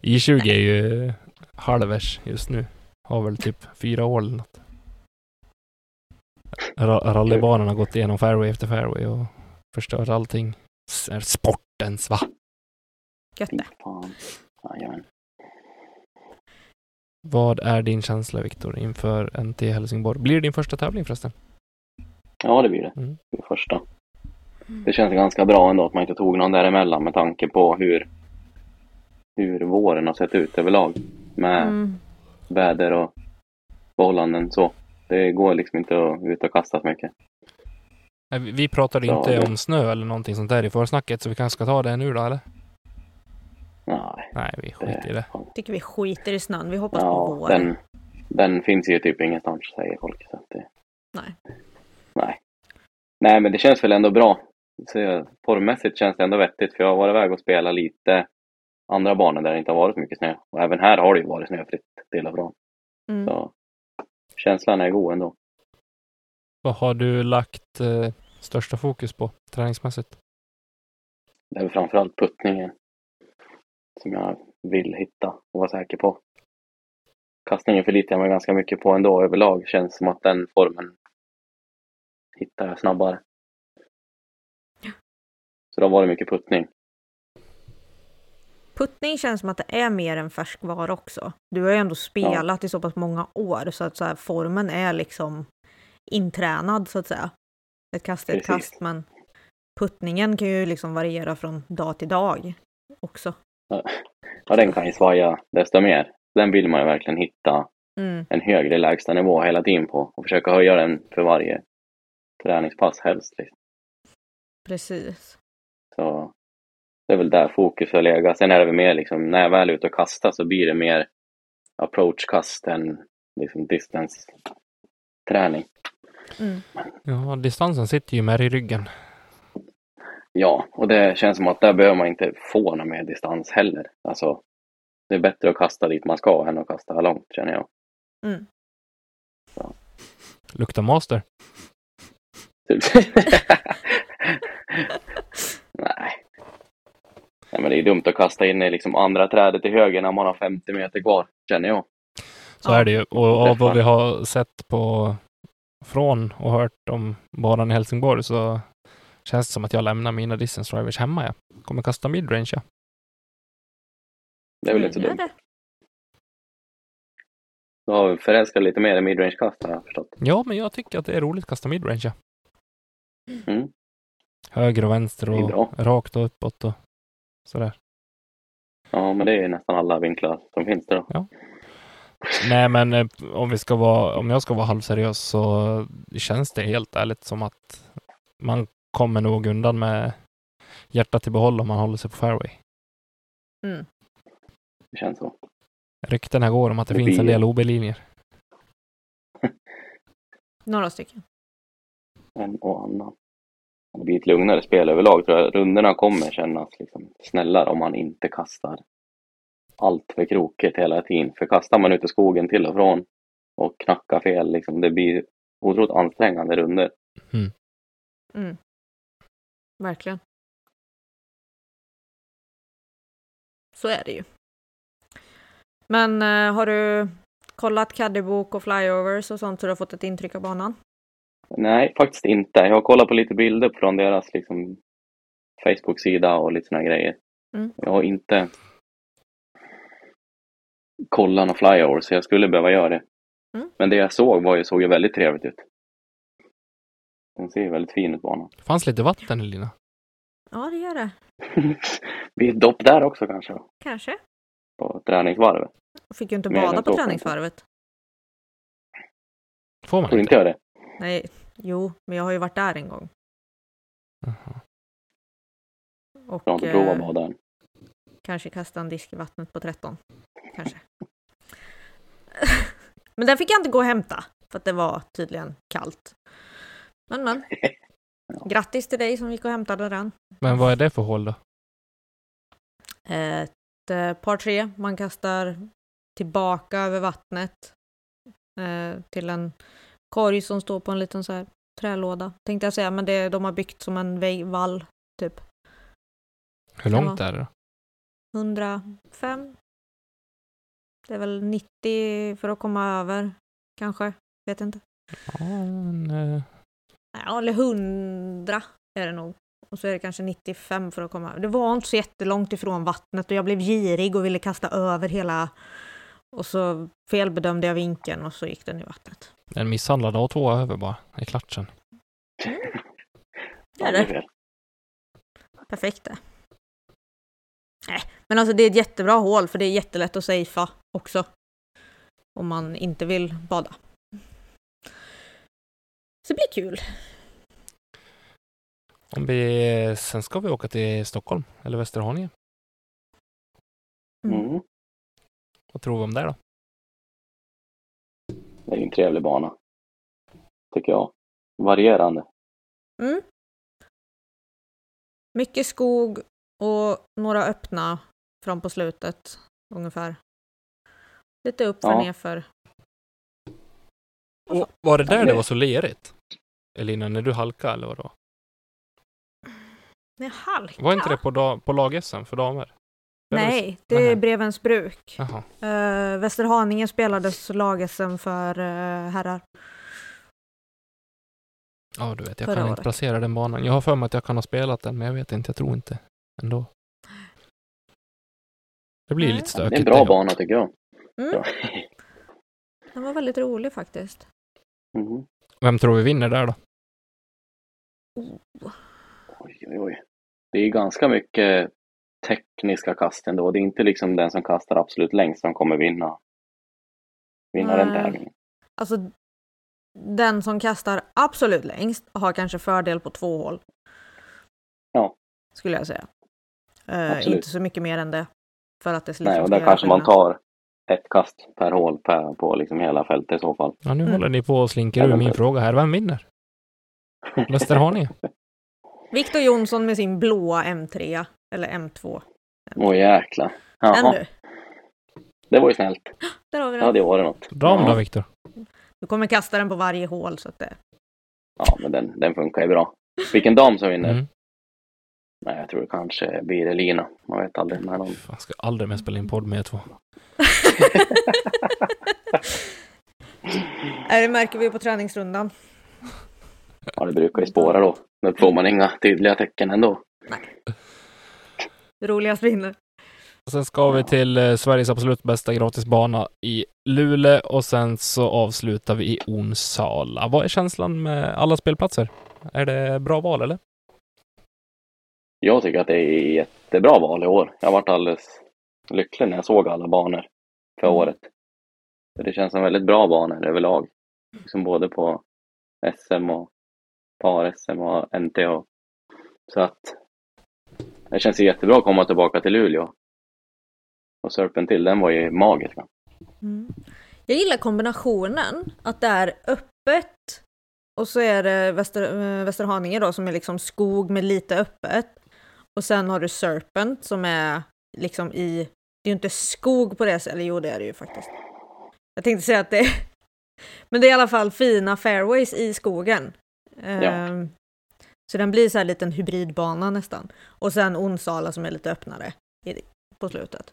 [SPEAKER 1] I20 är ju halvers just nu. Har väl typ fyra år eller något. Ra- Rallybanan har gått igenom fairway efter fairway och förstört allting. S- är Sportens va?
[SPEAKER 3] Gött
[SPEAKER 2] Fy
[SPEAKER 3] det.
[SPEAKER 2] fan. Jajamän.
[SPEAKER 1] Vad är din känsla Viktor inför NT Helsingborg? Blir det din första tävling förresten?
[SPEAKER 2] Ja, det blir det.
[SPEAKER 1] Mm.
[SPEAKER 2] Det första. Det känns ganska bra ändå att man inte tog någon däremellan med tanke på hur, hur våren har sett ut överlag. Med
[SPEAKER 3] Mm.
[SPEAKER 2] väder och förhållanden så. Det går liksom inte att ut och kasta så mycket.
[SPEAKER 1] Nej, Äh, vi- Vi pratade
[SPEAKER 2] Ja,
[SPEAKER 1] inte
[SPEAKER 2] det-
[SPEAKER 1] om snö eller någonting sånt där i försnacket så vi kanske ska ta det nu då eller?
[SPEAKER 2] Nej.
[SPEAKER 1] Nej, vi skiter i det.
[SPEAKER 3] Tycker vi skiter i snön, vi hoppas på
[SPEAKER 2] Ja,
[SPEAKER 3] våren.
[SPEAKER 2] den, den finns ju typ ingenstans säger folk. Så att det,
[SPEAKER 3] Nej.
[SPEAKER 2] Nej. Nej, men det känns väl ändå bra. Så jag- Formmässigt känns det ändå vettigt för jag har varit iväg och spelat lite andra banor där det inte har varit mycket snö. Och även här har det ju varit snöfritt till och från.
[SPEAKER 3] Mm.
[SPEAKER 2] Så känslan är god ändå.
[SPEAKER 1] Vad har du lagt eh, största fokus på träningsmässigt?
[SPEAKER 2] Det är väl framförallt puttningen som jag vill hitta och vara säker på. Kastningen förlitar jag mig ganska mycket på ändå överlag. Känns som att den formen hittar jag snabbare. Så då var det mycket puttning.
[SPEAKER 3] Puttning känns som att det är mer en färskvara också. Du har ju ändå spelat i så pass många år så att så här, formen är liksom intränad så att säga. Ett kast är ett
[SPEAKER 2] Precis.
[SPEAKER 3] kast men puttningen kan ju liksom variera från dag till dag också.
[SPEAKER 2] Ja, den kan ju svaja desto mer. Den vill man ju verkligen hitta
[SPEAKER 3] Mm.
[SPEAKER 2] en högre lägstanivå hela tiden på och försöka höja den för varje träningspass helst. Liksom.
[SPEAKER 3] Precis.
[SPEAKER 2] Så det är väl där fokus har legat. Sen är det väl mer liksom, när jag väl är ute och kastar så blir det mer approachkast än liksom distance-träning.
[SPEAKER 3] Mm.
[SPEAKER 1] Ja, distansen sitter ju med i ryggen.
[SPEAKER 2] Ja, och det känns som att där behöver man inte få någon mer distans heller. Alltså, det är bättre att kasta dit man ska än att kasta långt, känner jag.
[SPEAKER 3] Mm.
[SPEAKER 1] Luktar master.
[SPEAKER 2] Typ. Nej. Nej, men det är dumt att kasta in i liksom andra trädet till höger när man har 50 meter kvar, känner jag.
[SPEAKER 1] Så
[SPEAKER 3] Ja.
[SPEAKER 1] är det ju. Och av vad
[SPEAKER 2] Träffar.
[SPEAKER 1] vi har sett på från och hört om banan i Helsingborg så känns det som att jag lämnar mina distance drivers hemma. Jag kommer kasta midrange. Ja.
[SPEAKER 2] Det är väl inte så
[SPEAKER 3] Ja,
[SPEAKER 2] dumt.
[SPEAKER 3] det.
[SPEAKER 2] Du har förälskat lite mer i midrange-kast, har jag förstått.
[SPEAKER 1] ja, men jag tycker att det är roligt att kasta midrange. Ja.
[SPEAKER 2] Mm.
[SPEAKER 1] Höger och vänster
[SPEAKER 2] Det är bra.
[SPEAKER 1] och rakt och uppåt och sådär.
[SPEAKER 2] Ja, men det är ju nästan alla vinklar som finns där då.
[SPEAKER 1] Nej, men eh, om, vi ska vara, om jag ska vara halvseriös så känns det helt ärligt som att man kommer nog undan med hjärtat i behåll om man håller sig på fairway.
[SPEAKER 3] Mm.
[SPEAKER 2] Det känns så.
[SPEAKER 1] Ryktena går om att det
[SPEAKER 2] Det
[SPEAKER 1] finns en
[SPEAKER 2] blir-
[SPEAKER 1] del OB-linjer.
[SPEAKER 3] Några stycken.
[SPEAKER 2] En och annan. Det blir ett lugnare spel överlag tror jag. Rundorna kommer kännas liksom snällare om man inte kastar allt för krokigt hela tiden. För kastar man ut i skogen till och från och knackar fel, liksom, det blir otroligt ansträngande runder.
[SPEAKER 3] Mm. Verkligen. Så är det ju. Men eh, har du kollat caddybok och flyovers och sånt så du har fått ett intryck av banan?
[SPEAKER 2] Nej, faktiskt inte. Jag har kollat på lite bilder från deras liksom, Facebook-sida och lite såna här grejer.
[SPEAKER 3] Mm.
[SPEAKER 2] Jag har inte kollat några flyovers, så jag skulle behöva göra det.
[SPEAKER 3] Mm.
[SPEAKER 2] Men det jag såg var ju, såg ju väldigt trevligt ut. Den ser ju väldigt fin ut, banan.
[SPEAKER 1] Det fanns lite vatten i lina.
[SPEAKER 3] Ja, det gör det.
[SPEAKER 2] blir ett dopp där också kanske, då,
[SPEAKER 3] Kanske.
[SPEAKER 2] på träningsvarvet.
[SPEAKER 3] Fick ju inte
[SPEAKER 2] Mer än
[SPEAKER 3] bada
[SPEAKER 2] så
[SPEAKER 3] på
[SPEAKER 2] kanske.
[SPEAKER 3] träningsvarvet.
[SPEAKER 1] Får man
[SPEAKER 2] Tror inte jag det?
[SPEAKER 3] Nej, jo, men jag har ju varit där en gång.
[SPEAKER 1] Jaha.
[SPEAKER 3] Och
[SPEAKER 2] Jag har inte
[SPEAKER 3] eh,
[SPEAKER 2] provat att bada än.
[SPEAKER 3] kanske kasta en disk i vattnet på 13. Kanske. men den fick jag inte gå och hämta. För att det var tydligen kallt. Men men. Grattis till dig som gick och hämtade den.
[SPEAKER 1] Men vad är det för hål då?
[SPEAKER 3] Ett eh, par tre, man kastar tillbaka över vattnet eh, till en korg som står på en liten så här trälåda. Tänkte jag säga, men det de har byggt som en vägg, vall, typ.
[SPEAKER 1] Hur
[SPEAKER 3] Kan
[SPEAKER 1] långt är det då?
[SPEAKER 3] 105. Det är väl 90 för att komma över, kanske. Vet inte.
[SPEAKER 1] Ja, men, eh,
[SPEAKER 3] Ja, eller 100 är det nog. Och så är det kanske 95 för att komma över. Det var inte så jättelångt ifrån vattnet och jag blev girig och ville kasta över hela... Och så felbedömde jag vinkeln och så gick den i vattnet.
[SPEAKER 1] en misshandlad A2 över bara, i klatschen.
[SPEAKER 3] Ja, det är Perfekt det. Nej, men alltså det är ett jättebra hål för det är jättelätt att safea också. Om man inte vill bada. Så det blir kul.
[SPEAKER 1] Om vi, eh, sen ska vi åka till Stockholm, eller Västerhaninge.
[SPEAKER 3] Mm.
[SPEAKER 2] Mm.
[SPEAKER 1] Vad tror vi om det då?
[SPEAKER 2] Det är ju en trevlig bana. Tycker jag. Varierande.
[SPEAKER 3] Mm. Mycket skog och några öppna fram på slutet ungefär. Lite upp för
[SPEAKER 2] Ja.
[SPEAKER 3] nerför.
[SPEAKER 1] Alltså, var det
[SPEAKER 2] Ja,
[SPEAKER 1] där
[SPEAKER 2] det-
[SPEAKER 1] det var så lerigt? Elina, när du halkade eller vadå?
[SPEAKER 3] Nej, halka?
[SPEAKER 1] Var inte det på, da- på lag-SM för damer? Det är väl-
[SPEAKER 3] Nej, det
[SPEAKER 1] Nähä.
[SPEAKER 3] är Brevens bruk.
[SPEAKER 1] Jaha.
[SPEAKER 3] Uh, Västerhaninge spelades lag-SM för eh, herrar.
[SPEAKER 1] Ja, du vet, jag
[SPEAKER 3] Förra
[SPEAKER 1] kan inte
[SPEAKER 3] året.
[SPEAKER 1] placera den banan. Jag har för mig att jag kan ha spelat den, men jag vet inte. Jag tror inte ändå. Det blir
[SPEAKER 3] Nej.
[SPEAKER 1] lite
[SPEAKER 2] Det är
[SPEAKER 1] stökigt.
[SPEAKER 2] en bra
[SPEAKER 1] det.
[SPEAKER 2] bana tycker jag.
[SPEAKER 3] Mm,
[SPEAKER 2] Ja.
[SPEAKER 3] den var väldigt rolig faktiskt. Mm-hmm.
[SPEAKER 2] Mm.
[SPEAKER 1] Vem tror vi vinner där då?
[SPEAKER 2] Oj, oj, oj. Det är ganska mycket tekniska kast ändå. Det är inte liksom den som kastar absolut längst som kommer vinna. Vinna den
[SPEAKER 3] Nej.
[SPEAKER 2] tävlingen.
[SPEAKER 3] Alltså, den som kastar absolut längst har kanske fördel på två hål.
[SPEAKER 2] Ja.
[SPEAKER 3] Skulle jag säga. Eh,
[SPEAKER 2] Absolut.
[SPEAKER 3] inte så mycket mer än det. För att det liksom
[SPEAKER 2] Nej, och
[SPEAKER 3] ska
[SPEAKER 2] där
[SPEAKER 3] göra
[SPEAKER 2] kanske man
[SPEAKER 3] skillnad.
[SPEAKER 2] tar ett kast per hål per, på liksom hela fältet i så fall.
[SPEAKER 1] Ja, nu
[SPEAKER 3] Mm.
[SPEAKER 1] håller ni på och slinker ur min fråga här. Vem vinner? Västerhaninge?
[SPEAKER 3] Victor Jonsson med sin blåa M3, eller M2.
[SPEAKER 2] Åh jäklar.
[SPEAKER 3] Den
[SPEAKER 2] Jaha,
[SPEAKER 3] du,
[SPEAKER 2] det var ju snällt.
[SPEAKER 3] där har vi
[SPEAKER 2] Ja,
[SPEAKER 3] den.
[SPEAKER 2] det var det något.
[SPEAKER 1] Dam då,
[SPEAKER 2] Ja.
[SPEAKER 1] Viktor?
[SPEAKER 3] Du kommer kasta den på varje hål så att det...
[SPEAKER 2] Ja, men den, den funkar ju bra. Vilken dam som vinner?
[SPEAKER 1] Mm.
[SPEAKER 2] Nej, jag tror det kanske blir Elina. Man vet aldrig när de...
[SPEAKER 1] Fan, ska aldrig mer spela in podd med er två.
[SPEAKER 3] Nej, det märker vi på träningsrundan.
[SPEAKER 2] Ja, det brukar ju spåra då. Men får man inga tydliga tecken ändå.
[SPEAKER 3] Roligast vinner.
[SPEAKER 1] Och Sen ska vi till eh, Sveriges absolut bästa gratisbana i Luleå och sen så avslutar vi i Onsala. Vad är känslan med alla spelplatser? Är det bra val eller?
[SPEAKER 2] Jag tycker att det är jättebra val i år. Jag varit alldeles lycklig när jag såg alla banor för året. För det känns som väldigt bra banor överlag. Liksom både på SM och par-SM och NT. Och... Så att det känns ju jättebra att komma tillbaka till Luleå. Och Serpent till, den var ju magisk.
[SPEAKER 3] Mm. Jag gillar kombinationen, att det är öppet och så är det Väster, eh, Västerhaninge då som är liksom skog med lite öppet. Och sen har du Serpent som är liksom i, det är ju inte skog på det sättet, eller jo det är det ju faktiskt. Jag tänkte säga att det är, men det är i alla fall fina fairways i skogen. Ehm, Så den blir så här liten hybridbana nästan. Och sen Onsala som är lite öppnare i, på slutet.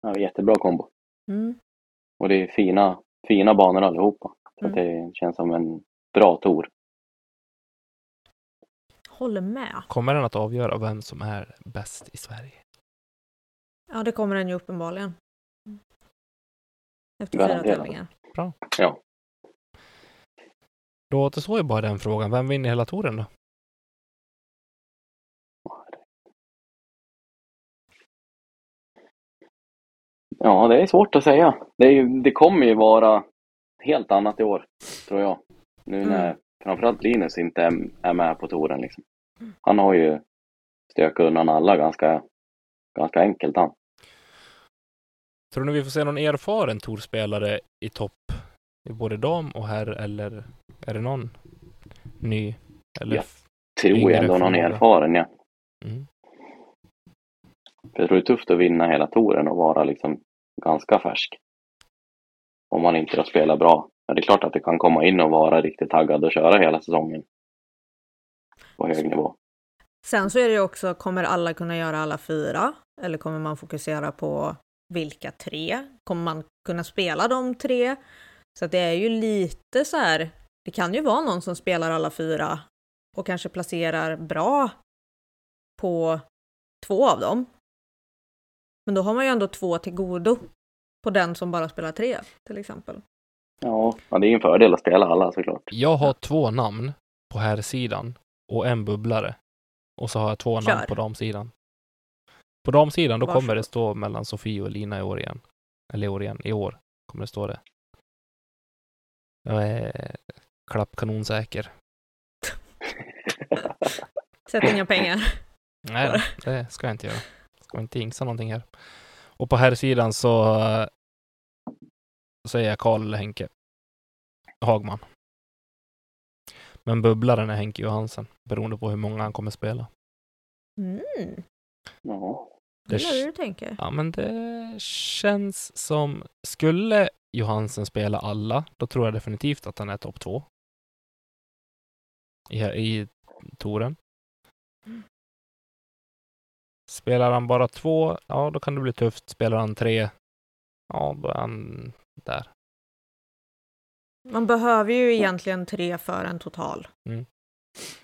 [SPEAKER 2] Ja, jättebra kombo.
[SPEAKER 3] Mm.
[SPEAKER 2] Och det är fina, fina banor allihopa. Så att
[SPEAKER 3] Mm.
[SPEAKER 2] det känns som en bra tour.
[SPEAKER 3] Håller med.
[SPEAKER 1] Kommer den att avgöra vem som är bäst i Sverige?
[SPEAKER 3] Ja, det kommer den ju uppenbarligen. Efter fyra
[SPEAKER 2] Garanterat.
[SPEAKER 3] tävlingar.
[SPEAKER 1] Då återstår ju bara den frågan. Vem vinner hela touren då?
[SPEAKER 2] Ja, det är svårt att säga. Det, är ju, det kommer ju vara helt annat i år, tror jag. Nu när
[SPEAKER 3] Mm.
[SPEAKER 2] framförallt Linus inte är, är med på touren. Liksom. Han har ju stökat undan alla ganska, ganska enkelt. Han.
[SPEAKER 1] Tror ni vi får se någon erfaren tourspelare i topp i både dam och herr eller är det någon ny Eller?
[SPEAKER 2] Ja. Tror
[SPEAKER 1] Yngre
[SPEAKER 2] jag ändå någon
[SPEAKER 1] förmåga.
[SPEAKER 2] erfaren, ja.
[SPEAKER 1] Mm.
[SPEAKER 2] För jag tror det är tufft att vinna hela touren och vara liksom ganska färsk. Om man inte har spelat bra. Men det är klart att det kan komma in och vara riktigt taggad och köra hela säsongen. På hög nivå.
[SPEAKER 3] Sen så är det ju också, kommer alla kunna göra alla fyra? Eller kommer man fokusera på vilka tre? Kommer man kunna spela de tre? Så att det är ju lite så här, det kan ju vara någon som spelar alla fyra och kanske placerar bra på två av dem. Men då har man ju ändå två till godo på den som bara spelar tre till exempel.
[SPEAKER 2] Ja, ja, det är ju en fördel att spela alla såklart.
[SPEAKER 1] Jag har två namn på här sidan och en bubblare. Och så har jag två namn
[SPEAKER 3] Kör.
[SPEAKER 1] på damsidan. På damsidan då kommer
[SPEAKER 3] Varsågod.
[SPEAKER 1] det stå mellan Sofie och Lina i år igen. Eller i år igen, i år kommer det stå det. Jag är klappkanonsäker.
[SPEAKER 3] Sätt inga pengar.
[SPEAKER 1] Nej, då, det ska jag inte göra. Ska inte jinxa någonting här. Och på här sidan så eh, säger jag Karl eller Henke Hagman. Men bubblaren är Henke Johansen, beroende på hur många han kommer spela.
[SPEAKER 3] Mm,
[SPEAKER 2] Ja.
[SPEAKER 3] det
[SPEAKER 1] Det,
[SPEAKER 3] är
[SPEAKER 1] k-
[SPEAKER 3] det du tänker.
[SPEAKER 1] ja, men det känns som, skulle Johansen spela alla, då tror jag definitivt att han är topp två. I, i touren. Spelar han bara två, ja då kan det bli tufft. Spelar han tre, ja då är han där.
[SPEAKER 3] Man behöver ju egentligen tre för en total.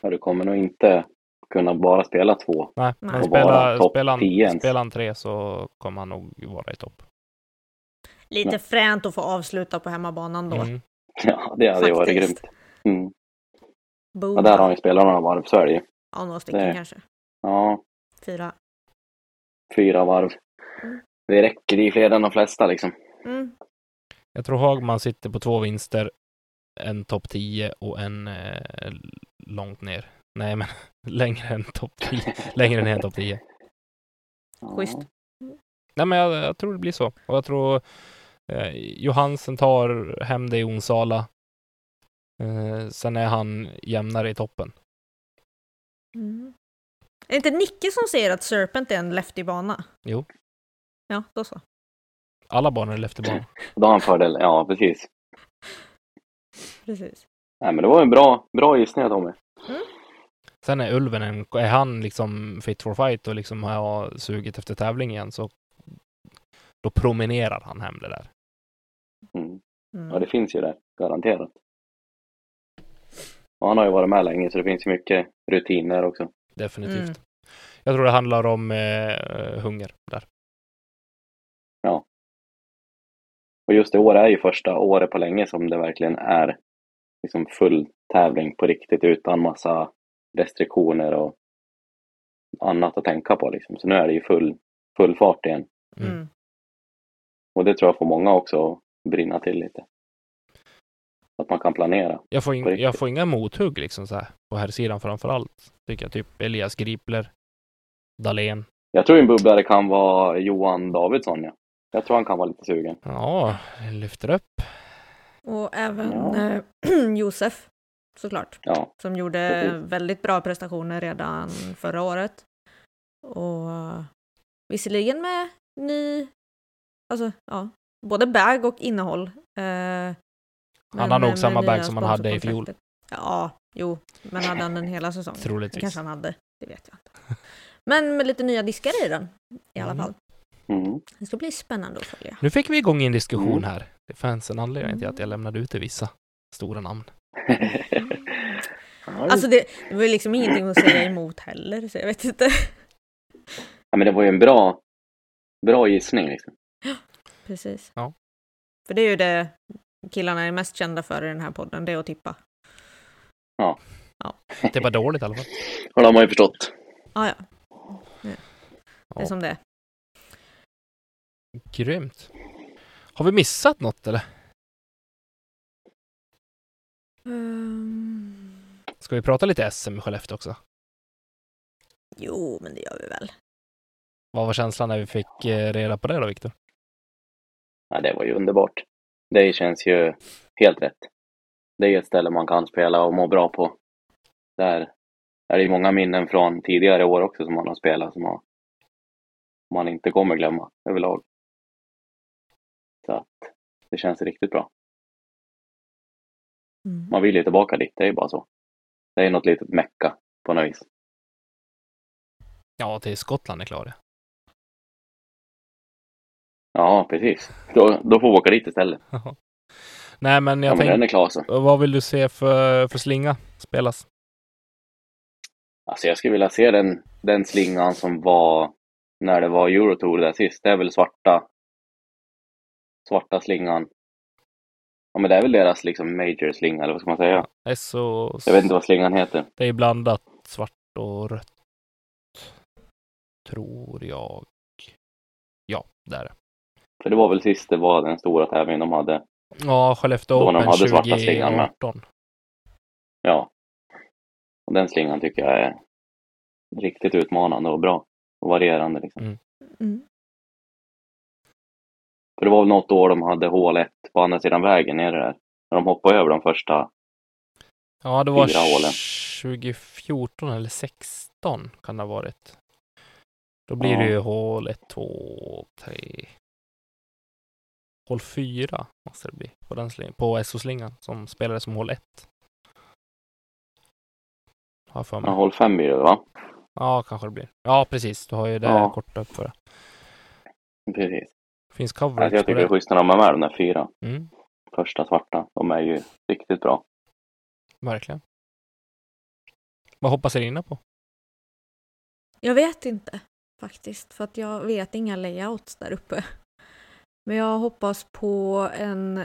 [SPEAKER 2] Ja, Du kommer nog inte kunna bara spela två.
[SPEAKER 1] Nej,
[SPEAKER 3] Nej.
[SPEAKER 1] men
[SPEAKER 3] Och
[SPEAKER 2] vara
[SPEAKER 1] spelar,
[SPEAKER 2] topp
[SPEAKER 1] spelar, han,
[SPEAKER 2] 10 ens.
[SPEAKER 1] spelar han tre så kommer han nog vara i topp.
[SPEAKER 3] Lite
[SPEAKER 2] Nej.
[SPEAKER 3] fränt att få avsluta på hemmabanan då.
[SPEAKER 1] Mm.
[SPEAKER 2] Ja, det hade ju varit
[SPEAKER 3] Faktiskt. Mm.
[SPEAKER 2] grymt. Mm.
[SPEAKER 3] Boom.
[SPEAKER 2] Ja, där har ni spelat några varv, så är det ju.
[SPEAKER 3] Ja, några stycken
[SPEAKER 2] Nej.
[SPEAKER 3] kanske.
[SPEAKER 2] Ja,
[SPEAKER 3] Fyra.
[SPEAKER 2] fyra varv.
[SPEAKER 3] Mm.
[SPEAKER 2] Det räcker, det är ju fler än de flesta liksom.
[SPEAKER 3] Mm.
[SPEAKER 1] Jag tror Hagman sitter på två vinster, en topp 10 och en eh, långt ner. Nej, men längre än topp 10. Längre ner än topp 10.
[SPEAKER 2] Ja.
[SPEAKER 3] Schysst.
[SPEAKER 1] Nej, men jag, jag tror det blir så. Och jag tror eh, Johansen tar hem det i Onsala. Eh, sen är han jämnare i toppen.
[SPEAKER 3] Mm. Är det inte Nicke som säger att Serpent är en lefty bana?
[SPEAKER 1] Jo.
[SPEAKER 3] Ja, då så.
[SPEAKER 1] Alla banor är Lefteborg.
[SPEAKER 2] Då har han fördel. Ja, precis.
[SPEAKER 3] Precis.
[SPEAKER 2] Nej, men det var en bra, bra gissning Tommy.
[SPEAKER 1] Sen är Ulven, en, är han liksom fit for fight och liksom har sugit efter tävling igen så då promenerar han hem det där.
[SPEAKER 2] Mm.
[SPEAKER 3] Mm.
[SPEAKER 2] Ja, det finns ju där, garanterat. Och han har ju varit med länge, så det finns ju mycket rutiner också.
[SPEAKER 1] Definitivt.
[SPEAKER 3] Mm.
[SPEAKER 1] Jag tror det handlar om eh, hunger där.
[SPEAKER 2] Och just i år är ju första året på länge som det verkligen är liksom full tävling på riktigt utan massa restriktioner och annat att tänka på. Liksom. Så nu är det ju full, full fart igen.
[SPEAKER 1] Mm.
[SPEAKER 3] Mm.
[SPEAKER 2] Och det tror jag får många också att brinna till lite. Att man kan planera.
[SPEAKER 1] Jag får, in,
[SPEAKER 2] På riktigt.
[SPEAKER 1] jag får inga mothugg liksom så här på här sidan framför allt. Tycker jag typ Elias Gripler, Dahlén.
[SPEAKER 2] Jag tror en bubblare kan vara Johan Davidsson. Ja. Jag tror han kan vara lite sugen.
[SPEAKER 1] Ja, lyfter upp.
[SPEAKER 3] Och även
[SPEAKER 2] Ja.
[SPEAKER 3] eh, Josef, såklart,
[SPEAKER 2] Ja,
[SPEAKER 3] som gjorde
[SPEAKER 1] Mm.
[SPEAKER 2] Precis.
[SPEAKER 3] väldigt bra prestationer redan förra året. Och eh, visserligen med ny, alltså ja, både bag och innehåll. Eh, men
[SPEAKER 1] har nog
[SPEAKER 3] med
[SPEAKER 1] samma bag
[SPEAKER 3] nya
[SPEAKER 1] som han hade i fjol.
[SPEAKER 3] sponsorkontraktet. Ja, jo, men hade han den hela säsongen? Det
[SPEAKER 1] Troligtvis.
[SPEAKER 3] kanske han hade, det vet jag inte. Men med lite nya diskar i den i alla
[SPEAKER 1] Mm.
[SPEAKER 3] fall.
[SPEAKER 2] mm.
[SPEAKER 3] Det ska bli spännande att följa.
[SPEAKER 1] Nu fick vi igång en diskussion
[SPEAKER 2] Mm.
[SPEAKER 1] här. Det fanns en anledning till att
[SPEAKER 3] Mm.
[SPEAKER 1] jag lämnade ut vissa stora namn.
[SPEAKER 3] Alltså det, det var ju liksom ingenting att säga emot heller, så jag vet inte.
[SPEAKER 2] ja, men det var ju en bra, bra gissning. Liksom.
[SPEAKER 3] Precis.
[SPEAKER 1] Ja.
[SPEAKER 3] För det är ju det killarna är mest kända för i den här podden, det är att tippa.
[SPEAKER 1] Det var dåligt i alla fall.
[SPEAKER 2] Och det har man ju förstått.
[SPEAKER 3] Ah, ja, ja. Det är
[SPEAKER 1] Ja.
[SPEAKER 3] som det är.
[SPEAKER 1] Grymt. Har vi missat något eller?
[SPEAKER 3] Ehm,
[SPEAKER 1] Ska vi prata lite SM i Skellefteå också?
[SPEAKER 3] jo, men det gör vi väl.
[SPEAKER 1] Vad var känslan när vi fick eh, reda på det då, Viktor?
[SPEAKER 2] Ja, det var ju underbart. Det känns ju helt rätt. Det är ett ställe man kan spela och må bra på. Där är det ju många minnen från tidigare år också som man har spelat som man, man inte kommer glömma överlag. Så att det känns riktigt bra.
[SPEAKER 3] Mm.
[SPEAKER 2] Man vill ju tillbaka dit, det är ju bara så. Det är något litet mecka på något vis.
[SPEAKER 1] Ja, till Skottland är klart det.
[SPEAKER 2] Ja, precis. Då, då får vi åka dit istället.
[SPEAKER 1] Jaha. Nej, men
[SPEAKER 2] Ja,
[SPEAKER 1] jag
[SPEAKER 2] men den
[SPEAKER 1] tänkte,
[SPEAKER 2] är klar alltså. så.
[SPEAKER 1] Eh, vad vill du se för, för slinga spelas?
[SPEAKER 2] Alltså jag skulle vilja se den, den slingan som var när det var Eurotour där sist. Det är väl svarta, svarta slingan. Ja men det är väl deras liksom major slinga eller vad ska man säga?
[SPEAKER 1] Det är så...
[SPEAKER 2] Jag vet inte vad slingan heter.
[SPEAKER 1] Det är blandat svart och rött. Tror jag. Ja, där. är det.
[SPEAKER 2] För det var väl sist det var den stora tävlingen de hade.
[SPEAKER 1] Ja, Skellefteå
[SPEAKER 2] Då när de
[SPEAKER 1] Open
[SPEAKER 2] hade svarta slingan med.
[SPEAKER 1] 2018.
[SPEAKER 2] Ja. Och den slingan tycker jag är riktigt utmanande och bra. Och varierande liksom.
[SPEAKER 3] Mm.
[SPEAKER 2] För det var väl något år de hade hål 1 på andra sidan vägen nere där. När de hoppade över de första.
[SPEAKER 1] Ja, det var
[SPEAKER 2] Fyra hålen.
[SPEAKER 1] 2014 eller 16 kan det ha varit. Då blir
[SPEAKER 2] Ja.
[SPEAKER 1] det ju hål 1, 2, 3. Hål 4 måste det bli på den slingan, på SO-slingan som spelades som hål 1. Har jag för mig.
[SPEAKER 2] Ja, hål 5 blir det va?
[SPEAKER 1] Ja, kanske det blir. Ja, precis. Du har ju det
[SPEAKER 2] Ja.
[SPEAKER 1] korta upp för det.
[SPEAKER 2] Precis.
[SPEAKER 1] Finns coverage
[SPEAKER 2] Alltså jag
[SPEAKER 1] på
[SPEAKER 2] tycker det är
[SPEAKER 1] det.
[SPEAKER 2] schysst när de är med de där fyra.
[SPEAKER 1] Mm,
[SPEAKER 2] första svarta. De är ju riktigt bra.
[SPEAKER 1] verkligen. Vad hoppas Elina på?
[SPEAKER 3] Jag vet inte faktiskt, för att jag vet inga layouts där uppe. Men jag hoppas på en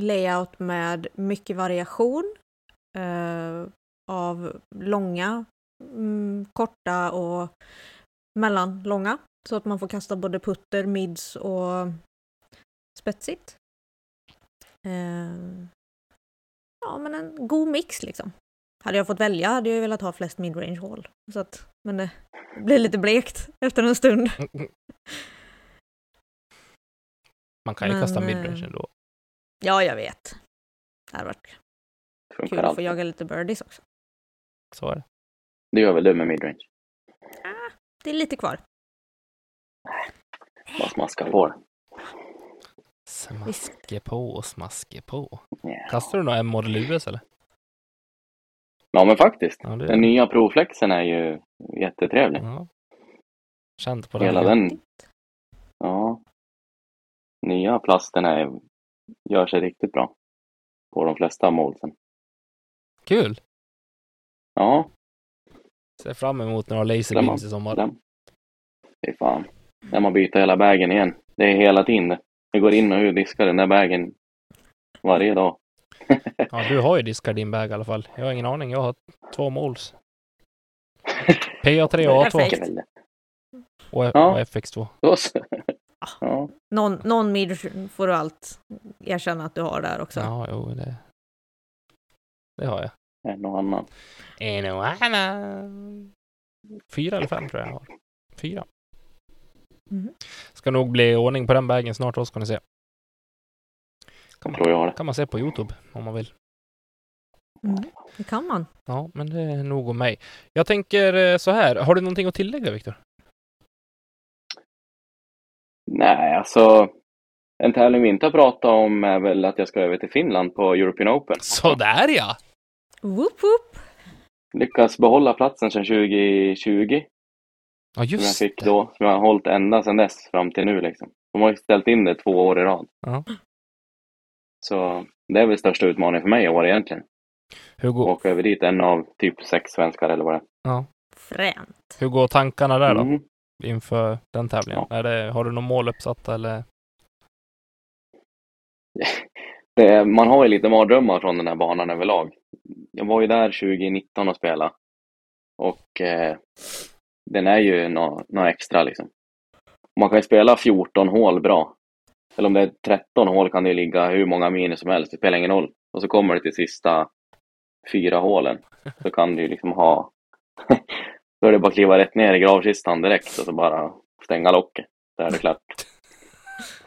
[SPEAKER 3] layout med mycket variation eh, av långa, mm, korta och mellanlånga. Så att man får kasta både putter, mids och spetsigt. Eh, ja, men en god mix liksom. Hade jag fått välja hade jag ju velat ha flest midrange hål. Så att, men det blir lite blekt efter en stund.
[SPEAKER 1] Man kan ju
[SPEAKER 3] Men,
[SPEAKER 1] kasta
[SPEAKER 3] eh,
[SPEAKER 1] midrange ändå.
[SPEAKER 3] Ja, jag vet. Det hade varit
[SPEAKER 2] Funkar
[SPEAKER 3] kul att få
[SPEAKER 2] alltid.
[SPEAKER 3] jaga lite birdies också.
[SPEAKER 1] Så är det.
[SPEAKER 2] Det gör väl du med midrange?
[SPEAKER 3] Det är lite kvar.
[SPEAKER 2] Bara smaska på det.
[SPEAKER 1] Smaske på och smaske på.
[SPEAKER 2] Ja.
[SPEAKER 1] Kastar du några M-model US eller?
[SPEAKER 2] ja men faktiskt.
[SPEAKER 1] Ja, det
[SPEAKER 2] Den nya provflexen är ju jättetrevlig.
[SPEAKER 1] Ja. Känt på den.
[SPEAKER 2] Hela
[SPEAKER 1] igen.
[SPEAKER 2] den. Ja. Nya plasten är, gör sig riktigt bra. På de flesta målsen.
[SPEAKER 1] Kul!
[SPEAKER 2] Ja,
[SPEAKER 1] Ser fram emot några
[SPEAKER 2] Den
[SPEAKER 1] laserbeams
[SPEAKER 2] man-
[SPEAKER 1] i sommar.
[SPEAKER 2] den. Fy fan. När man byter hela bagen igen. Det är hela tiden det. Vi går in och ut och diskar den där bagen varje dag.
[SPEAKER 1] Ja, du har ju diskat din bag i alla fall. Jag har ingen aning. Jag har två måls. PA3 och A2
[SPEAKER 3] Perfekt.
[SPEAKER 2] Kväll.
[SPEAKER 1] och, och
[SPEAKER 2] Ja.
[SPEAKER 1] FX2.
[SPEAKER 2] Då så.
[SPEAKER 3] Ah.
[SPEAKER 2] Ja,
[SPEAKER 3] Någon, någon midrange får du allt erkänna att du har där också.
[SPEAKER 1] Ja, jo, det... Det har jag.
[SPEAKER 2] en och annan.
[SPEAKER 1] En och annan. Fyra eller fem tror jag jag har. Fyra.
[SPEAKER 3] Mhm.
[SPEAKER 1] Ska nog bli ordning på den vägen snart också kan ni se. Kan man,
[SPEAKER 2] Tror jag har det.
[SPEAKER 1] kan man se på Youtube om man vill.
[SPEAKER 3] Mm, det kan man.
[SPEAKER 1] Ja, men det är nog om mig. Jag tänker eh, så här. Har du någonting att tillägga Viktor?
[SPEAKER 2] Nej, alltså. En tävling vi inte har pratat om är väl att jag ska över till Finland på European Open.
[SPEAKER 1] Sådär ja!
[SPEAKER 3] Whoop, whoop.
[SPEAKER 2] Lyckas behålla platsen sedan 2020.
[SPEAKER 1] Ja,
[SPEAKER 2] Som jag
[SPEAKER 1] just
[SPEAKER 2] fick
[SPEAKER 1] det.
[SPEAKER 2] då. Som jag har hållit ända sedan dess fram till nu liksom. De har ju ställt in det två år i rad.
[SPEAKER 1] Ja.
[SPEAKER 2] Så det är väl största utmaningen för mig i år egentligen.
[SPEAKER 1] Hur går,
[SPEAKER 2] Åka över dit, en av typ sex svenskar eller vad det
[SPEAKER 3] Frän.
[SPEAKER 1] hur går tankarna
[SPEAKER 2] är.
[SPEAKER 1] där då?
[SPEAKER 2] Mm.
[SPEAKER 1] Inför den tävlingen? Är det, har du några mål uppsatta eller?
[SPEAKER 2] Det är, Eh, man har ju lite mardrömmar från den här banan överlag. Jag var ju där 2019 och spelade. Och eh, den är ju något nå extra liksom. Man kan ju spela 14 hål bra. Eller om det är 13 hål kan det ju ligga hur många minus som helst, det spelar ingen roll. Och så kommer det till sista fyra hålen. Så kan du ju liksom ha... Då är det bara att kliva rätt ner i gravkistan direkt och så bara stänga locket. Där är det klart.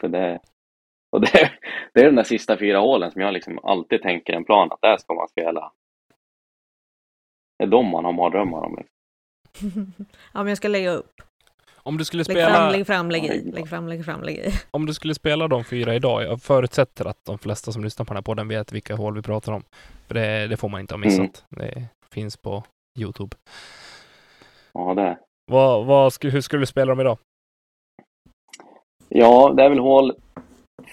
[SPEAKER 2] För det... Och det, det är de där sista fyra hålen som jag liksom alltid tänker en plan att där ska man spela Det är de man har mardrömmar om. Liksom.
[SPEAKER 3] ja, men jag ska lägga upp.
[SPEAKER 1] Om du skulle
[SPEAKER 3] Lägg fram,
[SPEAKER 1] spela,
[SPEAKER 3] lägg fram, lägg i.
[SPEAKER 2] Nej,
[SPEAKER 3] Lägg fram, lägg fram, lägg i.
[SPEAKER 1] om du skulle spela de fyra idag, jag förutsätter att de flesta som lyssnar på den här podden vet vilka hål vi pratar om. För det, det får man inte ha missat.
[SPEAKER 2] Mm.
[SPEAKER 1] Det finns på YouTube.
[SPEAKER 2] Ja, det.
[SPEAKER 1] Vad, vad, sku- hur skulle du spela dem idag?
[SPEAKER 2] ja, det är väl hål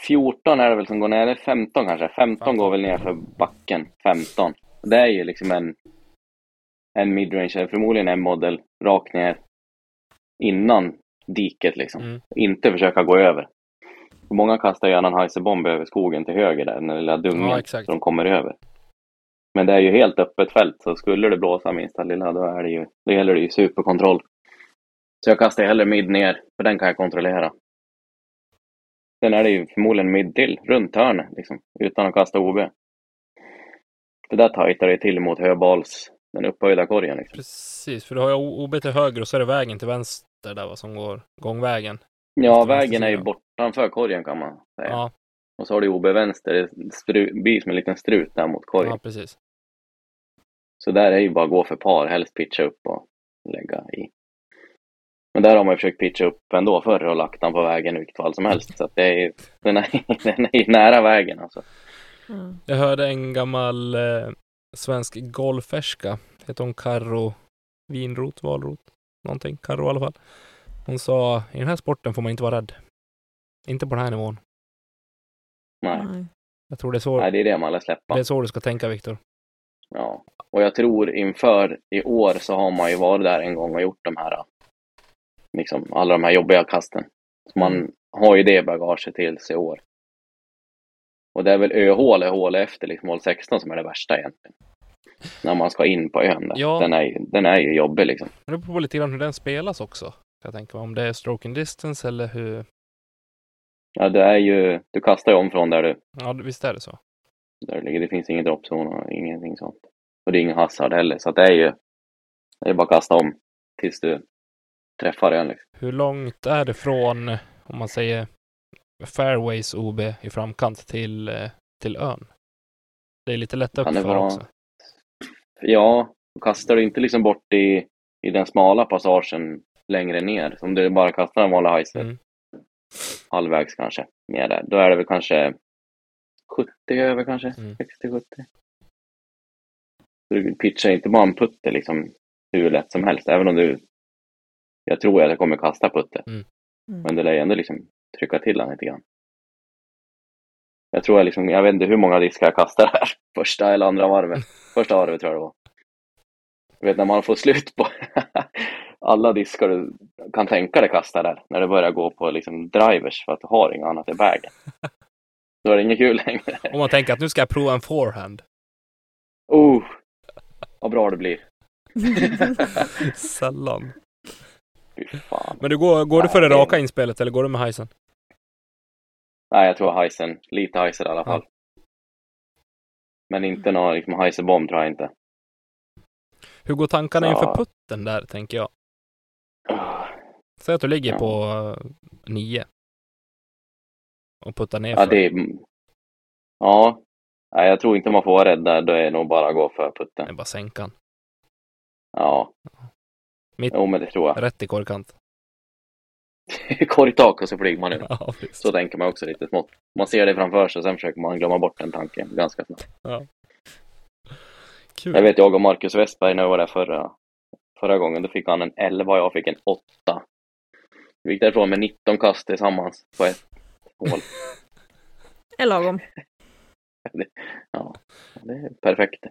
[SPEAKER 2] 14 är det väl som går ner, eller 15 kanske. 15,
[SPEAKER 1] 15.
[SPEAKER 2] går väl ner för backen, 15. Det är ju liksom en, en midrange, eller förmodligen en modell, rakt ner innan diket liksom.
[SPEAKER 1] Mm.
[SPEAKER 2] Inte försöka gå över. Många kastar gärna en heiserbomb över skogen till höger där, den där lilla dungen,
[SPEAKER 1] Ja,
[SPEAKER 2] så
[SPEAKER 1] exakt.
[SPEAKER 2] de kommer över. Men det är ju helt öppet fält, så skulle det blåsa minsta lilla, då, är det ju, då gäller det ju superkontroll. Så jag kastar hellre mid ner, för den kan jag kontrollera. Sen är det ju förmodligen mid till, runt hörnet, liksom, utan att kasta OB. För där tajtar det till mot höbals, den upphöjda korgen. Liksom.
[SPEAKER 1] Precis, för du har ju O- OB till höger och så är det vägen till vänster där vad som går gångvägen.
[SPEAKER 2] Ja,
[SPEAKER 1] Just det,
[SPEAKER 2] vägen är ju
[SPEAKER 1] vänstersidan.
[SPEAKER 2] bortanför korgen kan man säga.
[SPEAKER 1] Ja,
[SPEAKER 2] Och så har du OB vänster, det stru- blir som en liten strut där mot korgen.
[SPEAKER 1] ja precis.
[SPEAKER 2] Så där är ju bara att gå för par, helst pitcha upp och lägga i. Men där har man ju försökt pitcha upp ändå förr och lagt den på vägen i vilket fall som helst. Så att det är ju, den, är, den är ju nära vägen alltså.
[SPEAKER 3] Mm.
[SPEAKER 1] Jag hörde en gammal eh, svensk golferska, heter hon Karo Vinrot, Valrot, någonting, Karo i alla fall. Hon sa, i den här sporten får man inte vara rädd. Inte på den här nivån.
[SPEAKER 2] Nej,
[SPEAKER 3] Nej.
[SPEAKER 1] Jag tror det är så,
[SPEAKER 2] Nej det är det man lär
[SPEAKER 1] det
[SPEAKER 2] släppa.
[SPEAKER 1] är så du ska tänka Viktor.
[SPEAKER 2] Ja. Och jag tror inför i år så har man ju varit där en gång och gjort de här, liksom alla de här jobbiga kasten. Så man har ju det bagaget till sig i år. Och det är väl öhål är hål efter liksom hål 16 som är det värsta egentligen. När man ska in på ön där.
[SPEAKER 1] Ja.
[SPEAKER 2] Den, är, ju- den är ju jobbig liksom.
[SPEAKER 1] Men det beror på lite grann hur den spelas också. kan Jag tänker mig, om det är stroke and distance eller hur,
[SPEAKER 2] Ja, det är ju, du kastar ju om från där du,
[SPEAKER 1] ja visst är det så.
[SPEAKER 2] där du ligger. Det finns ingen droppzon och ingenting sånt. Och det är ingen hazard heller, så att det är ju, det är bara att kasta om tills du träffar ön. Liksom.
[SPEAKER 1] Hur långt är det från, om man säger fairways OB i framkant till, eh, till ön? Det är lite lätt
[SPEAKER 2] Kan det
[SPEAKER 1] uppför
[SPEAKER 2] vara-
[SPEAKER 1] också.
[SPEAKER 2] Ja, då kastar du inte liksom bort i, i den smala passagen längre ner. Om du bara kastar en vanlig heiser,
[SPEAKER 1] Mm.
[SPEAKER 2] halvvägs kanske, ner där. Då är det väl kanske 70 över kanske,
[SPEAKER 1] Mm.
[SPEAKER 2] 60-70. Så du pitchar inte bara en putter liksom hur lätt som helst, även om du... Jag tror att jag kommer kasta putter. Men
[SPEAKER 3] Mm.
[SPEAKER 2] det lär ju ändå liksom trycka till han lite grann. Jag tror jag liksom, jag vet inte hur många diskar jag kastar här. Första eller andra varvet. Första varvet tror jag det var. Du vet när man får slut på alla diskar du kan tänka dig kasta där. När det börjar gå på liksom drivers för att du har inget annat i bagen. Då är det inget kul längre.
[SPEAKER 1] Om man tänker att nu ska jag prova en forehand.
[SPEAKER 2] Oh, vad bra det blir.
[SPEAKER 1] Sällan.
[SPEAKER 2] Fy fan.
[SPEAKER 1] Men du går, går du för det
[SPEAKER 2] Nej, det-
[SPEAKER 1] raka inspelet eller går du med hajsen?
[SPEAKER 2] Nej, jag tror Heisen. Lite Heiser i alla fall. Men inte någon liksom, Heiserbomb tror jag inte.
[SPEAKER 1] Hur går tankarna
[SPEAKER 2] Ja.
[SPEAKER 1] inför putten där, tänker jag? Säg att du ligger
[SPEAKER 2] Ja.
[SPEAKER 1] på eh, nio. Och puttar ner
[SPEAKER 2] Ja, det är... Ja. Nej, jag tror inte man får vara rädd där. Då är det nog bara att gå för putten.
[SPEAKER 1] är bara sänkan.
[SPEAKER 2] Ja.
[SPEAKER 1] Mitt-
[SPEAKER 2] Jo, men det tror jag.
[SPEAKER 1] Rätt i korkant.
[SPEAKER 2] Korgtak och så flyger man ut.
[SPEAKER 1] Ja, visst.
[SPEAKER 2] Så tänker man också lite smått. Man ser det framför sig, sen försöker man glömma bort den tanken ganska snabbt.
[SPEAKER 1] Kul.
[SPEAKER 2] Jag vet, jag och Marcus Westberg, när jag var där förra, förra gången, då fick han en 11 och jag fick en 8. Vi gick därifrån med 19 kast tillsammans på ett hål.
[SPEAKER 3] Är lagom.
[SPEAKER 2] Ja, det är perfekt.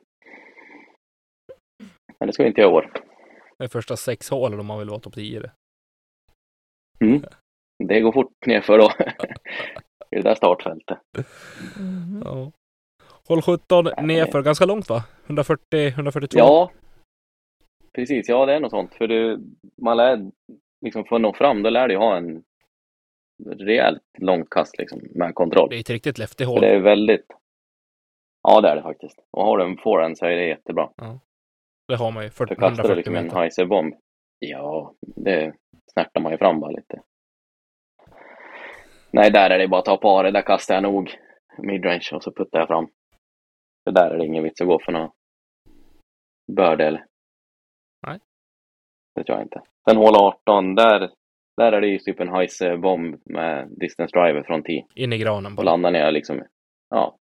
[SPEAKER 2] Men det ska vi inte göra i år.
[SPEAKER 1] Det är första sex hålen om man vill vara topp 10 i det.
[SPEAKER 2] Det går fort nerför då. I det där startfältet.
[SPEAKER 3] Mhm.
[SPEAKER 1] Ja. Håll 17
[SPEAKER 2] Nej.
[SPEAKER 1] nerför, ganska långt va? 140, 142?
[SPEAKER 2] Ja, precis. Ja, det är något sånt. För du, man lär, liksom för att nå fram, då lär du ju ha en rejält långt kast liksom, med kontroll.
[SPEAKER 1] Det är ett riktigt lefty
[SPEAKER 2] För
[SPEAKER 1] hål.
[SPEAKER 2] det är väldigt... Ja, det är det faktiskt. Och har du en forehand så är det jättebra.
[SPEAKER 1] Det har man ju. 40,
[SPEAKER 2] För kastar du
[SPEAKER 1] 140
[SPEAKER 2] liksom en
[SPEAKER 1] meter.
[SPEAKER 2] heiserbomb, ja, det snärtar man ju fram bara lite. Nej, där är det bara att ta på det. Där kastar jag nog midrange och så puttar jag fram. För där är det ingen vits att gå för någon börde eller vet jag inte. Sen hål 18, där, där är det ju typ en Heise-bomb med distance driver från tee.
[SPEAKER 1] In i granen
[SPEAKER 2] Och
[SPEAKER 1] bara.
[SPEAKER 2] landar ner liksom, ja.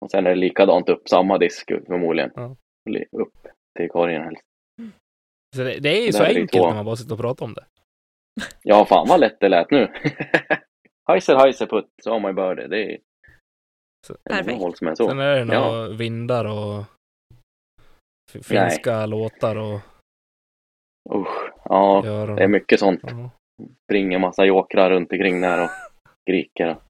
[SPEAKER 2] Och sen är det likadant upp, samma disk förmodligen.
[SPEAKER 1] Ja.
[SPEAKER 2] Li- Upp till korgen helst.
[SPEAKER 1] Så det, det är ju
[SPEAKER 2] Där
[SPEAKER 1] så
[SPEAKER 2] är det
[SPEAKER 1] enkelt
[SPEAKER 2] två.
[SPEAKER 1] när man bara sitter och pratar om det.
[SPEAKER 2] Ja, fan vad lätt det lät nu. Heiser, heiser, putt, så har man ju börjat det. Det är
[SPEAKER 1] Så-
[SPEAKER 2] det är
[SPEAKER 3] Perfekt.
[SPEAKER 2] inga hål som är
[SPEAKER 1] Sen
[SPEAKER 2] så.
[SPEAKER 1] är det
[SPEAKER 2] Ja.
[SPEAKER 1] några vindar och f- finska låtar och
[SPEAKER 2] Usch, ja,
[SPEAKER 1] göron.
[SPEAKER 2] det är mycket sånt.
[SPEAKER 1] Ja.
[SPEAKER 2] springer massa jokrar runt omkring där och griker. Och...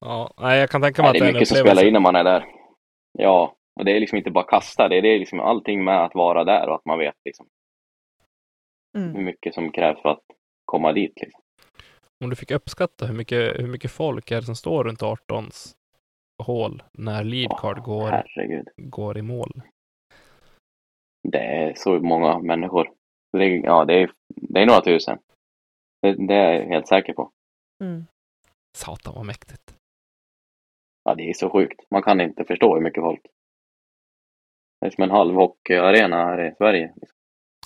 [SPEAKER 1] Ja, nej, jag kan tänka mig
[SPEAKER 2] Ja,
[SPEAKER 1] att
[SPEAKER 2] det är
[SPEAKER 1] en
[SPEAKER 2] mycket som
[SPEAKER 1] upplevelse.
[SPEAKER 2] spelar in när man är där. Ja, och det är liksom inte bara kasta, det är, det är liksom allting med att vara där och att man vet liksom hur
[SPEAKER 3] Mm.
[SPEAKER 2] mycket som krävs för att komma dit. Liksom.
[SPEAKER 1] Om du fick uppskatta hur mycket, hur mycket folk är det som står runt 18s hål när leadcard
[SPEAKER 2] Åh,
[SPEAKER 1] går,
[SPEAKER 2] Herregud,
[SPEAKER 1] går i mål.
[SPEAKER 2] det är så många människor. Det är, ja, det är, det är några tusen. Det, det är jag helt säker på.
[SPEAKER 3] Mm.
[SPEAKER 1] Satan vad mäktigt.
[SPEAKER 2] Ja, det är så sjukt. Man kan inte förstå hur mycket folk. Det är som en halv hockeyarena här i Sverige. Liksom.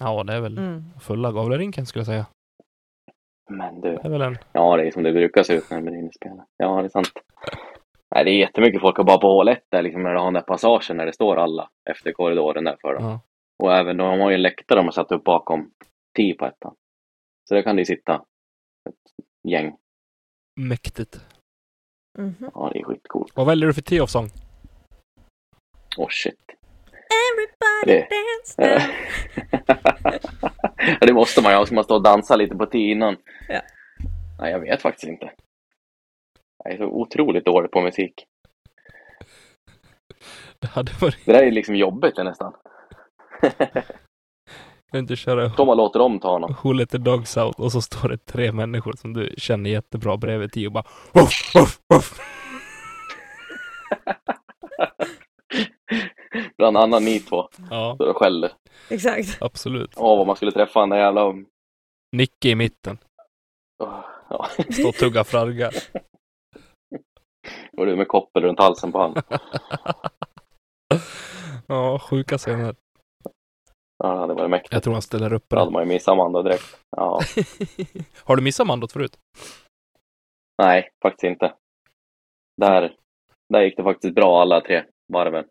[SPEAKER 1] Ja, det är väl
[SPEAKER 3] Mm.
[SPEAKER 1] fulla gavlerinken skulle jag säga.
[SPEAKER 2] Men du,
[SPEAKER 1] Det är väl en...
[SPEAKER 2] Ja, det är som det brukar se ut när man blir inspelad. Ja, det är sant. Nej, det är jättemycket folk och bara på hål 1 där, liksom, när du har den där passagen när det står alla efter korridoren där för dem.
[SPEAKER 1] Ja.
[SPEAKER 2] Och även de har ju en läktare de har satt upp bakom tee på ettan. Så där kan det ju sitta ett gäng.
[SPEAKER 1] Mäktigt.
[SPEAKER 3] Mhm.
[SPEAKER 2] Ja, det är skitcoolt.
[SPEAKER 1] Vad väljer du för tee off song?
[SPEAKER 2] Åh Oh, shit.
[SPEAKER 3] Everybody
[SPEAKER 2] Det-
[SPEAKER 3] dance
[SPEAKER 2] Ja.
[SPEAKER 3] now.
[SPEAKER 2] Ja, det måste man ju ha. Ska man stå och dansa lite på tee innan?
[SPEAKER 3] Ja.
[SPEAKER 2] Nej, jag vet faktiskt inte. Jag är så otroligt dålig på musik.
[SPEAKER 1] Det hade varit...
[SPEAKER 2] Det där är liksom jobbigt nästan.
[SPEAKER 1] Kan du inte köra
[SPEAKER 2] De bara låter dem ta honom.
[SPEAKER 1] Who let the dogs out? Och så står det tre människor som du känner jättebra bredvid tee och bara... Woof, woof, woof.
[SPEAKER 2] Bland annat ni två.
[SPEAKER 1] Ja,
[SPEAKER 2] Står och skäller.
[SPEAKER 3] Exakt.
[SPEAKER 1] absolut.
[SPEAKER 2] Åh, vad man skulle träffa den där jävla...
[SPEAKER 1] Nicke i mitten.
[SPEAKER 2] Åh, ja.
[SPEAKER 1] Står och tuggar flagga.
[SPEAKER 2] Och du med koppel runt halsen på honom.
[SPEAKER 1] Ja, sjuka scener.
[SPEAKER 2] Ja, det hade varit mäktigt.
[SPEAKER 1] Jag tror han ställer upp
[SPEAKER 2] Då hade
[SPEAKER 1] den.
[SPEAKER 2] man ju missat Amanda direkt. Ja,
[SPEAKER 1] Har du missat mandot förut?
[SPEAKER 2] nej, faktiskt inte. Där, där gick det faktiskt bra alla tre varven.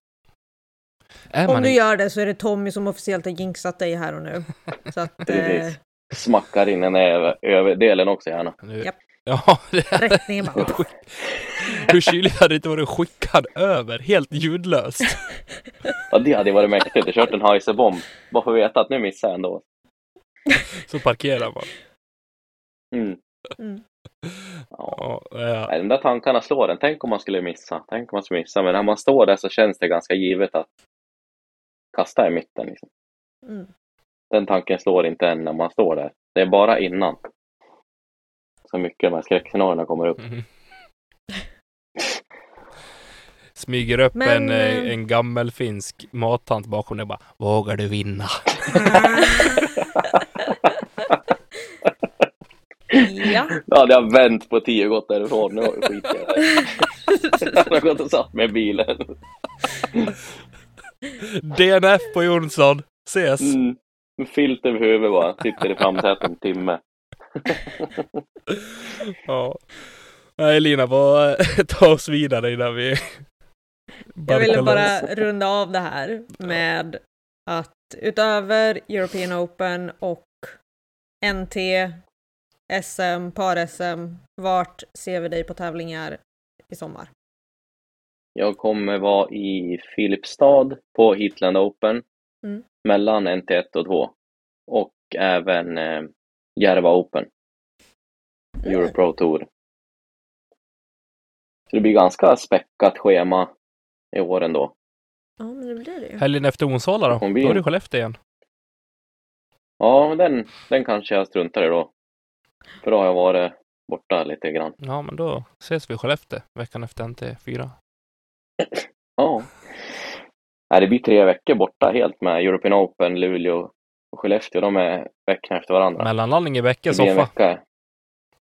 [SPEAKER 1] Är
[SPEAKER 3] Om
[SPEAKER 1] man
[SPEAKER 3] du
[SPEAKER 1] i...
[SPEAKER 3] gör det så är det Tommy som officiellt har jinxat dig här och nu. Så att, eh,
[SPEAKER 2] Precis. Smackar in en över, överdelen också gärna.
[SPEAKER 1] Nu...
[SPEAKER 3] Japp.
[SPEAKER 1] Ja, det är...
[SPEAKER 3] eh, rättningen bara.
[SPEAKER 1] Skick- Hur kyligt hade det inte varit skickad över, helt ljudlöst?
[SPEAKER 2] Ja, det hade ju varit mäktigt. Jag kört en heiserbomb. Bara för att veta att nu missar jag ändå.
[SPEAKER 1] Så parkerar man.
[SPEAKER 2] Mm.
[SPEAKER 3] Mm.
[SPEAKER 2] Ja.
[SPEAKER 1] Ja, ja.
[SPEAKER 2] Nej, de där tankarna slår en. Tänk om man skulle missa. Tänk om man skulle missa. Men när man står där så känns det ganska givet att kasta i mitten. Liksom.
[SPEAKER 3] Mm.
[SPEAKER 2] Den tanken slår inte en när man står där. Det är bara innan. Så mycket de här skräckscenarierna kommer upp.
[SPEAKER 1] Mhm. Smyger upp
[SPEAKER 3] Men,
[SPEAKER 1] en, eh,
[SPEAKER 3] eh,
[SPEAKER 1] en gammal finsk mattant bakom dig och bara Vågar du vinna?
[SPEAKER 3] ja.
[SPEAKER 2] Då hade jag vänt på tio och gått därifrån. Nu skiter jag i det. Jag hade gått och satt mig i bilen.
[SPEAKER 1] DNF på Jonsson! Ses!
[SPEAKER 2] Mm. Med Filt över huvudet bara. Sitter i framsätet en timme.
[SPEAKER 1] Ja. Nej Lina, vad ta oss vidare innan vi...
[SPEAKER 3] Jag ville
[SPEAKER 1] barkar
[SPEAKER 3] bara
[SPEAKER 1] loss.
[SPEAKER 3] runda av det här med att utöver European Open och NT, SM, par-SM, vart ser vi dig på tävlingar i sommar?
[SPEAKER 2] Jag kommer vara i Filipstad på Heatland Open
[SPEAKER 3] Mm.
[SPEAKER 2] mellan NT1 och 2 och även eh, Järva Open,
[SPEAKER 3] Mm.
[SPEAKER 2] Europro Tour. Så det blir ganska späckat schema i år ändå.
[SPEAKER 3] Ja, men det blir det ju.
[SPEAKER 1] Helgen efter Onsala då? Då
[SPEAKER 2] Kom vi in.
[SPEAKER 1] är det Skellefteå igen.
[SPEAKER 2] Ja, men den, den kanske jag struntar i då. För då har jag varit borta lite grann.
[SPEAKER 1] Ja, men då ses vi i Skellefteå veckan efter NT4.
[SPEAKER 2] Ja. Nej, det blir tre veckor borta helt med European Open, Luleå och Skellefteå. De är veckorna efter varandra.
[SPEAKER 1] Mellanlandning i veckan,
[SPEAKER 2] Det blir en
[SPEAKER 1] soffa.
[SPEAKER 2] vecka.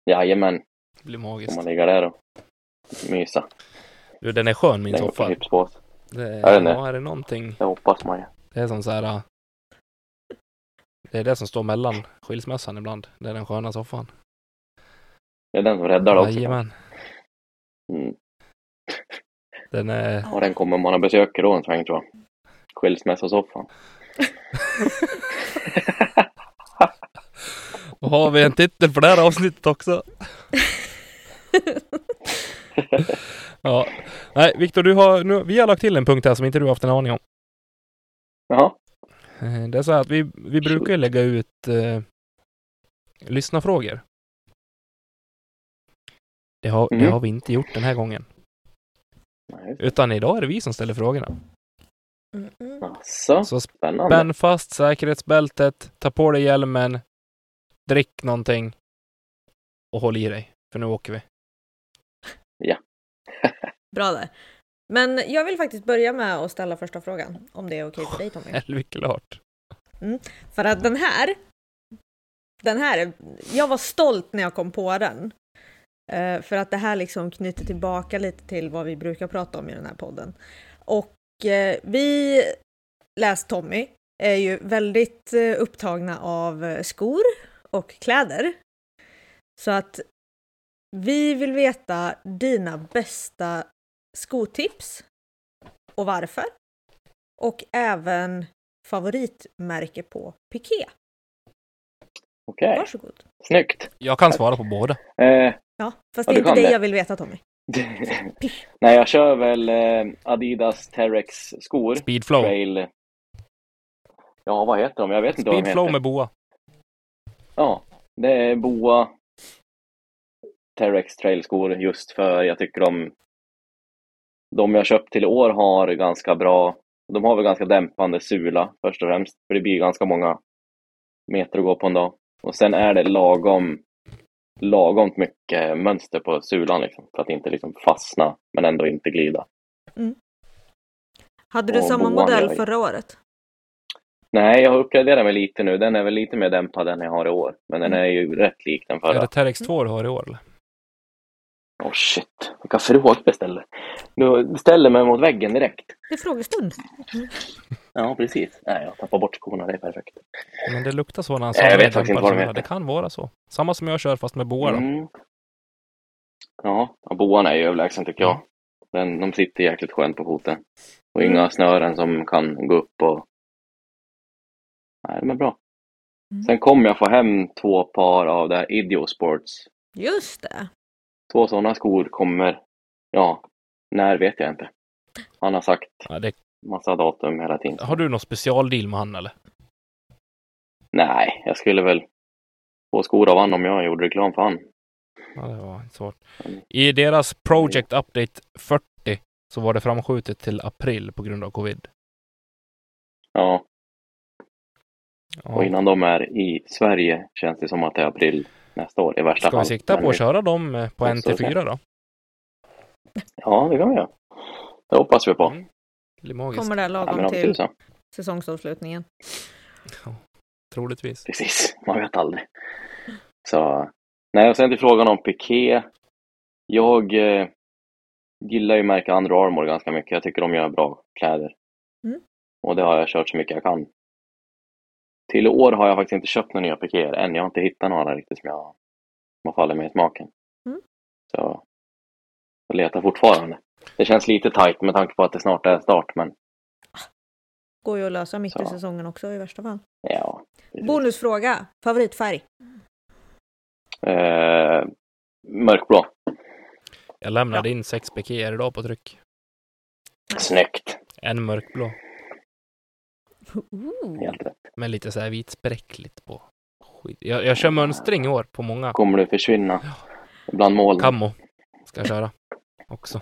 [SPEAKER 2] Jajamän,
[SPEAKER 1] Det blir
[SPEAKER 2] får
[SPEAKER 1] magiskt.
[SPEAKER 2] man ligga där och mysa.
[SPEAKER 1] Du, den är skön min
[SPEAKER 2] Lägga upp
[SPEAKER 1] soffa.
[SPEAKER 2] chips på oss.
[SPEAKER 1] Det,
[SPEAKER 2] Ja, den är.
[SPEAKER 1] ja, är det någonting,
[SPEAKER 2] Det hoppas man ju.
[SPEAKER 1] det Det är som så här. äh, Det är det som står mellan skilsmässan ibland. Det är den sköna soffan.
[SPEAKER 2] Det är den som räddar det också.
[SPEAKER 1] Jajamän.
[SPEAKER 2] Mm.
[SPEAKER 1] Den är...
[SPEAKER 2] Och den kommer om man har besökare då en sväng tror jag. Skilsmässosoffan.
[SPEAKER 1] Och har vi en titel för det här avsnittet också? Ja. Nej, Viktor, du har, nu, vi har lagt till en punkt här som inte du har haft en aning om.
[SPEAKER 2] Jaha,
[SPEAKER 1] Eh, Det är så här att vi, vi brukar ju lägga ut eh, lyssnarfrågor. Det har, det
[SPEAKER 2] Mm.
[SPEAKER 1] har vi inte gjort den här gången.
[SPEAKER 2] nej.
[SPEAKER 1] Utan idag är det vi som ställer frågorna.
[SPEAKER 3] Mm, mm.
[SPEAKER 2] Alltså,
[SPEAKER 1] Så
[SPEAKER 2] spännande.
[SPEAKER 1] spänn fast säkerhetsbältet, ta på dig hjälmen, drick någonting och håll i dig. För nu åker vi.
[SPEAKER 3] Bra där. Men jag vill faktiskt börja med att ställa första frågan, om det är okej för dig Tommy.
[SPEAKER 1] Eller klart.
[SPEAKER 3] För att den här, den här, jag var stolt när jag kom på den. Eh, för att det här liksom knyter tillbaka lite till vad vi brukar prata om i den här podden. Och eh, vi, läs Tommy, är ju väldigt eh, upptagna av eh, skor och kläder. Så att vi vill veta dina bästa skotips och varför. Och även favoritmärke på piké.
[SPEAKER 2] Okej,
[SPEAKER 3] Varsågod.
[SPEAKER 2] snyggt.
[SPEAKER 1] Jag kan svara på båda.
[SPEAKER 2] Eh,
[SPEAKER 3] Ja, fast
[SPEAKER 2] Ja, du
[SPEAKER 3] det är inte
[SPEAKER 2] kan
[SPEAKER 3] det
[SPEAKER 2] det.
[SPEAKER 3] jag vill veta Tommy.
[SPEAKER 2] nej, jag kör väl eh, Adidas Terex skor.
[SPEAKER 1] Speedflow.
[SPEAKER 2] Trail. Ja, vad heter de? Jag vet inte vad de
[SPEAKER 1] Speedflow
[SPEAKER 2] heter.
[SPEAKER 1] med boa.
[SPEAKER 2] Ja, det är boa Terex trailskor just för jag tycker de de jag köpt till i år har ganska bra, de har väl ganska dämpande sula först och främst, för det blir ganska många meter att gå på en dag. Och sen är det lagom, lagom mycket mönster på sulan liksom, för att inte liksom fastna men ändå inte glida.
[SPEAKER 3] Hade du
[SPEAKER 2] Och
[SPEAKER 3] samma
[SPEAKER 2] boan
[SPEAKER 3] modell
[SPEAKER 2] jag-
[SPEAKER 3] förra året?
[SPEAKER 2] Nej, jag har uppgraderat mig lite nu. Den är väl lite mer dämpad än jag har i år, men den är ju rätt lik den
[SPEAKER 1] Mm. Är
[SPEAKER 2] förra.
[SPEAKER 1] det Terex 2 du har i år eller?
[SPEAKER 2] Åh shit, vilka frågor jag ställer. Du ställer mig mot väggen direkt.
[SPEAKER 3] Det är frågestund.
[SPEAKER 2] Ja, precis. Nej, jag tappar bort skorna, det är perfekt.
[SPEAKER 1] Men det luktar så när han
[SPEAKER 2] Nej, jag
[SPEAKER 1] sa
[SPEAKER 2] vet faktiskt inte vad de
[SPEAKER 1] det.
[SPEAKER 2] heter.
[SPEAKER 1] Det kan vara så. Samma som jag kör fast med boa då.
[SPEAKER 2] Mm. Ja, ja, boan är ju överlägsen tycker jag.
[SPEAKER 1] Mm.
[SPEAKER 2] Den, de sitter jäkligt skönt på foten. Och inga snören som kan gå upp och... Nej, de är bra.
[SPEAKER 3] Mm.
[SPEAKER 2] Sen kommer jag få hem två par av det här Idiosports
[SPEAKER 3] Just det.
[SPEAKER 2] Två sådana skor kommer, ja, när vet jag inte. Han har sagt
[SPEAKER 1] Ja, det,
[SPEAKER 2] massa datum hela tiden.
[SPEAKER 1] har du någon specialdeal med han eller?
[SPEAKER 2] Nej, jag skulle väl få skor av han om jag gjorde reklam för han.
[SPEAKER 1] Ja, det var inte svårt.
[SPEAKER 2] Mm.
[SPEAKER 1] I deras Project Update 40 så var det framskjutet till april på grund av covid.
[SPEAKER 2] Ja,
[SPEAKER 1] Ja.
[SPEAKER 2] och innan de är i Sverige känns det som att det är april nästa år i värsta
[SPEAKER 1] Ska vi
[SPEAKER 2] fall.
[SPEAKER 1] sikta
[SPEAKER 2] Men
[SPEAKER 1] på att
[SPEAKER 2] vi-
[SPEAKER 1] köra dem eh, på
[SPEAKER 2] Ja,
[SPEAKER 1] en
[SPEAKER 2] så
[SPEAKER 1] till fyra då?
[SPEAKER 2] Ja, det kan vi göra. Det hoppas vi på.
[SPEAKER 1] Mm. Det blir magiskt,
[SPEAKER 3] Kommer det
[SPEAKER 2] Ja,
[SPEAKER 3] lagom
[SPEAKER 2] men om
[SPEAKER 3] till
[SPEAKER 2] tusan.
[SPEAKER 3] säsongsavslutningen.
[SPEAKER 1] troligtvis.
[SPEAKER 2] Precis, man vet aldrig. Så, nej, och sen till frågan om Piqué. Jag eh, gillar ju märka Under Armour ganska mycket. Jag tycker de gör bra kläder.
[SPEAKER 3] Mm.
[SPEAKER 2] Och det har jag kört så mycket jag kan. Till i år har jag faktiskt inte köpt några nya Piquéer än. Jag har inte hittat några riktigt som, jag, som har fallit mig i smaken.
[SPEAKER 3] Mm.
[SPEAKER 2] Så jag letar fortfarande. Det känns lite tajt med tanke på att det snart är start, men
[SPEAKER 3] Går ju att lösa mitt i
[SPEAKER 2] Så.
[SPEAKER 3] säsongen också i värsta
[SPEAKER 2] Mm.
[SPEAKER 3] fall.
[SPEAKER 2] ja. precis.
[SPEAKER 3] Bonusfråga. Favoritfärg?
[SPEAKER 2] Eh, mörkblå.
[SPEAKER 1] Jag lämnade in sex pikéer idag på tryck.
[SPEAKER 2] Snyggt.
[SPEAKER 1] En mörkblå
[SPEAKER 3] Ooh.
[SPEAKER 2] Helt rätt.
[SPEAKER 1] med lite så här vitspräckligt på. Skit. Jag, jag kör mönstring i år på många.
[SPEAKER 2] kommer du försvinna bland målen.
[SPEAKER 1] Kammo ska jag köra också.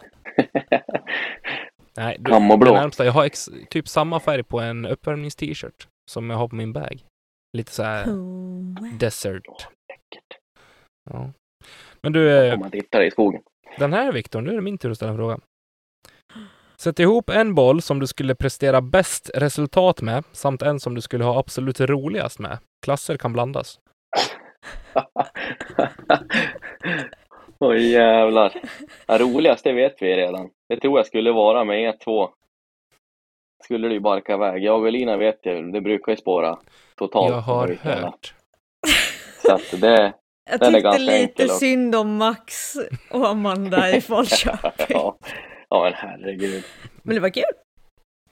[SPEAKER 1] Nej, du,
[SPEAKER 2] Kammoblå.
[SPEAKER 1] det närmsta. Jag har ex, typ samma färg på en uppvärmnings-t-shirt som jag har på min bag. Lite så här
[SPEAKER 3] Ooh.
[SPEAKER 1] desert.
[SPEAKER 2] Läckert.
[SPEAKER 1] Ja. Men du, eh,
[SPEAKER 2] Om man tittar i skogen.
[SPEAKER 1] den här Viktor, nu är det min tur att ställa en fråga. Sätt ihop en boll som du skulle prestera bäst resultat med samt en som du skulle ha absolut roligast med. Klasser kan blandas.
[SPEAKER 2] Oj jävlar. Det roligaste vet vi redan. Det tror jag skulle vara med E2. skulle det ju barka iväg. Jag och Elina vet ju, det brukar ju spåra totalt.
[SPEAKER 1] Jag har
[SPEAKER 2] Oj, jävlar.
[SPEAKER 1] hört.
[SPEAKER 2] Så att det,
[SPEAKER 3] Jag
[SPEAKER 2] Den är
[SPEAKER 3] tyckte
[SPEAKER 2] ganska
[SPEAKER 3] lite
[SPEAKER 2] enkel och-
[SPEAKER 3] synd om Max och Amanda i Falköping.
[SPEAKER 2] ja. ja men herregud.
[SPEAKER 3] Men det var kul.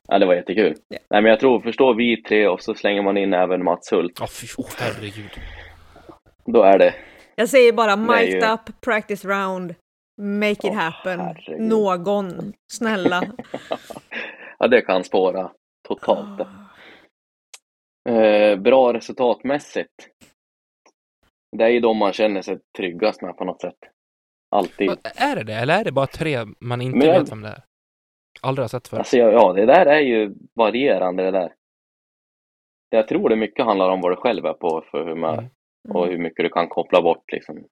[SPEAKER 2] Ja, det var jättekul.
[SPEAKER 3] Ja.
[SPEAKER 2] Nej, men jag tror, förstår vi tre och så slänger man in även Mats Hult,
[SPEAKER 1] Ja, fy oh, herregud.
[SPEAKER 2] då är det
[SPEAKER 3] Jag säger bara
[SPEAKER 2] Nej,
[SPEAKER 3] mic'd
[SPEAKER 2] ju.
[SPEAKER 3] up, practice round, make it
[SPEAKER 2] Åh,
[SPEAKER 3] happen.
[SPEAKER 2] herregud.
[SPEAKER 3] Någon, snälla.
[SPEAKER 2] Ja, det kan spåra totalt. Eh, bra resultatmässigt. Det är ju de man känner sig tryggast med på något sätt. Alltid.
[SPEAKER 1] Men Är det det, eller är det bara tre man inte
[SPEAKER 2] Men jag-
[SPEAKER 1] vet vem det är? Aldrig har sett förut.
[SPEAKER 2] Alltså, ja, ja, det där är ju varierande det där. Jag tror det mycket handlar om vad du själv är på för humör
[SPEAKER 1] Mm.
[SPEAKER 2] och hur mycket du kan koppla bort liksom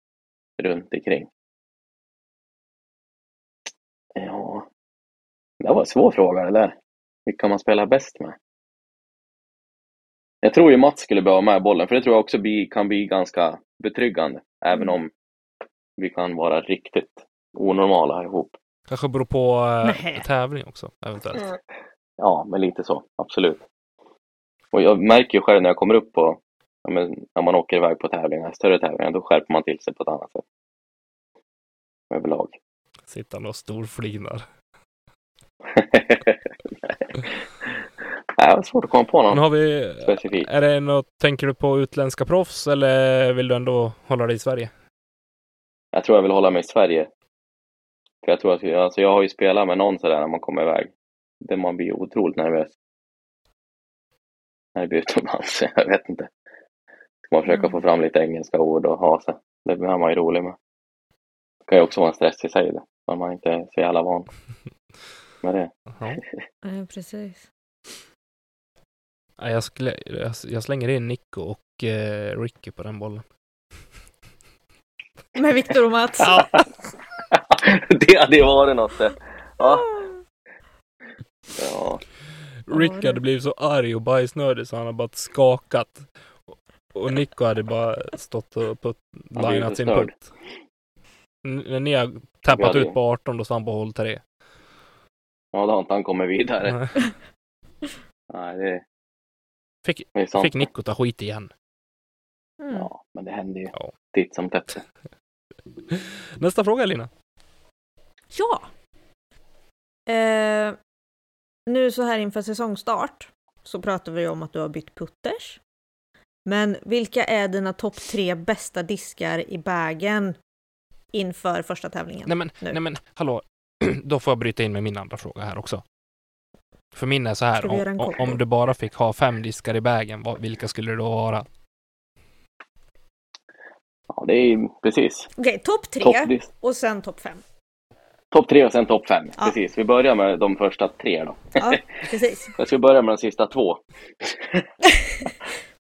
[SPEAKER 2] runt omkring. Ja, det var en svår fråga det där. Vilka man spelar bäst med. Jag tror ju Mats skulle behöva med bollen, för det tror jag också blir, kan bli ganska betryggande, även
[SPEAKER 1] Mm.
[SPEAKER 2] om vi kan vara riktigt onormala ihop.
[SPEAKER 1] Kanske beror på
[SPEAKER 3] Nej.
[SPEAKER 1] eh, tävling också, eventuellt.
[SPEAKER 2] Ja, men lite så, absolut. Och jag märker ju själv när jag kommer upp på, ja, men när man åker iväg på tävlingar, större tävlingar, då skärper man till sig på ett annat sätt. Överlag.
[SPEAKER 1] Sitter han och storflinar.
[SPEAKER 2] Nej, det var svårt att komma på någon
[SPEAKER 1] Nu har vi...
[SPEAKER 2] specifik.
[SPEAKER 1] Är det något, tänker du på utländska proffs eller vill du ändå hålla dig i Sverige?
[SPEAKER 2] Jag tror jag vill hålla mig i Sverige. För jag tror att, alltså jag har ju spelat med någon sådär när man kommer iväg. Där man blir otroligt nervös. När det blir utomlands, jag vet inte. Ska man försöka
[SPEAKER 3] Mm.
[SPEAKER 2] få fram lite engelska ord och ha sig. Det blir man ju rolig med. Det kan ju också vara en stress i sig det. När man inte är så jävla van med det.
[SPEAKER 1] Ja.
[SPEAKER 3] Ja, precis.
[SPEAKER 1] Nej, Jag, skulle, jag, jag slänger in Nico och eh, Ricky på den bollen.
[SPEAKER 3] Med Viktor och Mats.
[SPEAKER 2] det hade ju varit något det. Ja. ja.
[SPEAKER 1] Rick hade blivit så arg och bajsnödig så han hade bara skakat. Och Nico hade bara stått och putt,
[SPEAKER 2] Han blev
[SPEAKER 1] linat sin
[SPEAKER 2] förstörd.
[SPEAKER 1] putt. N- När ni har tappat
[SPEAKER 2] Ja, det-
[SPEAKER 1] ut på 18 då sa han bara håll tre.
[SPEAKER 2] ja, då har inte han kommit vidare.
[SPEAKER 1] Nej.
[SPEAKER 2] Nej, det,
[SPEAKER 1] Fick-
[SPEAKER 2] det är sant.
[SPEAKER 1] Fick Nico ta skit igen.
[SPEAKER 3] Mm.
[SPEAKER 2] Ja, men det händer ju
[SPEAKER 1] Ja.
[SPEAKER 2] titt som tätt.
[SPEAKER 1] Nästa fråga Lina.
[SPEAKER 3] Ja. Eh, nu så här inför säsongstart så pratar vi om att du har bytt putters. Men vilka är dina topp tre bästa diskar i bagen inför första tävlingen?
[SPEAKER 1] Nej men,
[SPEAKER 3] Nu.
[SPEAKER 1] nej men hallå. Då får jag bryta in med min andra fråga här också. För min är så här,
[SPEAKER 3] Ska vi göra en
[SPEAKER 1] om, om-
[SPEAKER 3] kort då?
[SPEAKER 1] om du bara fick ha fem diskar i bagen, vad- vilka skulle det då vara?
[SPEAKER 2] Ja, det är ju precis.
[SPEAKER 3] Okej, topp tre
[SPEAKER 2] Topp dis-
[SPEAKER 3] och sen topp fem.
[SPEAKER 2] topp tre och sen topp fem.
[SPEAKER 3] Ja.
[SPEAKER 2] Precis, vi börjar med de första tre då.
[SPEAKER 3] Ja, precis.
[SPEAKER 2] Jag ska börja med de sista två.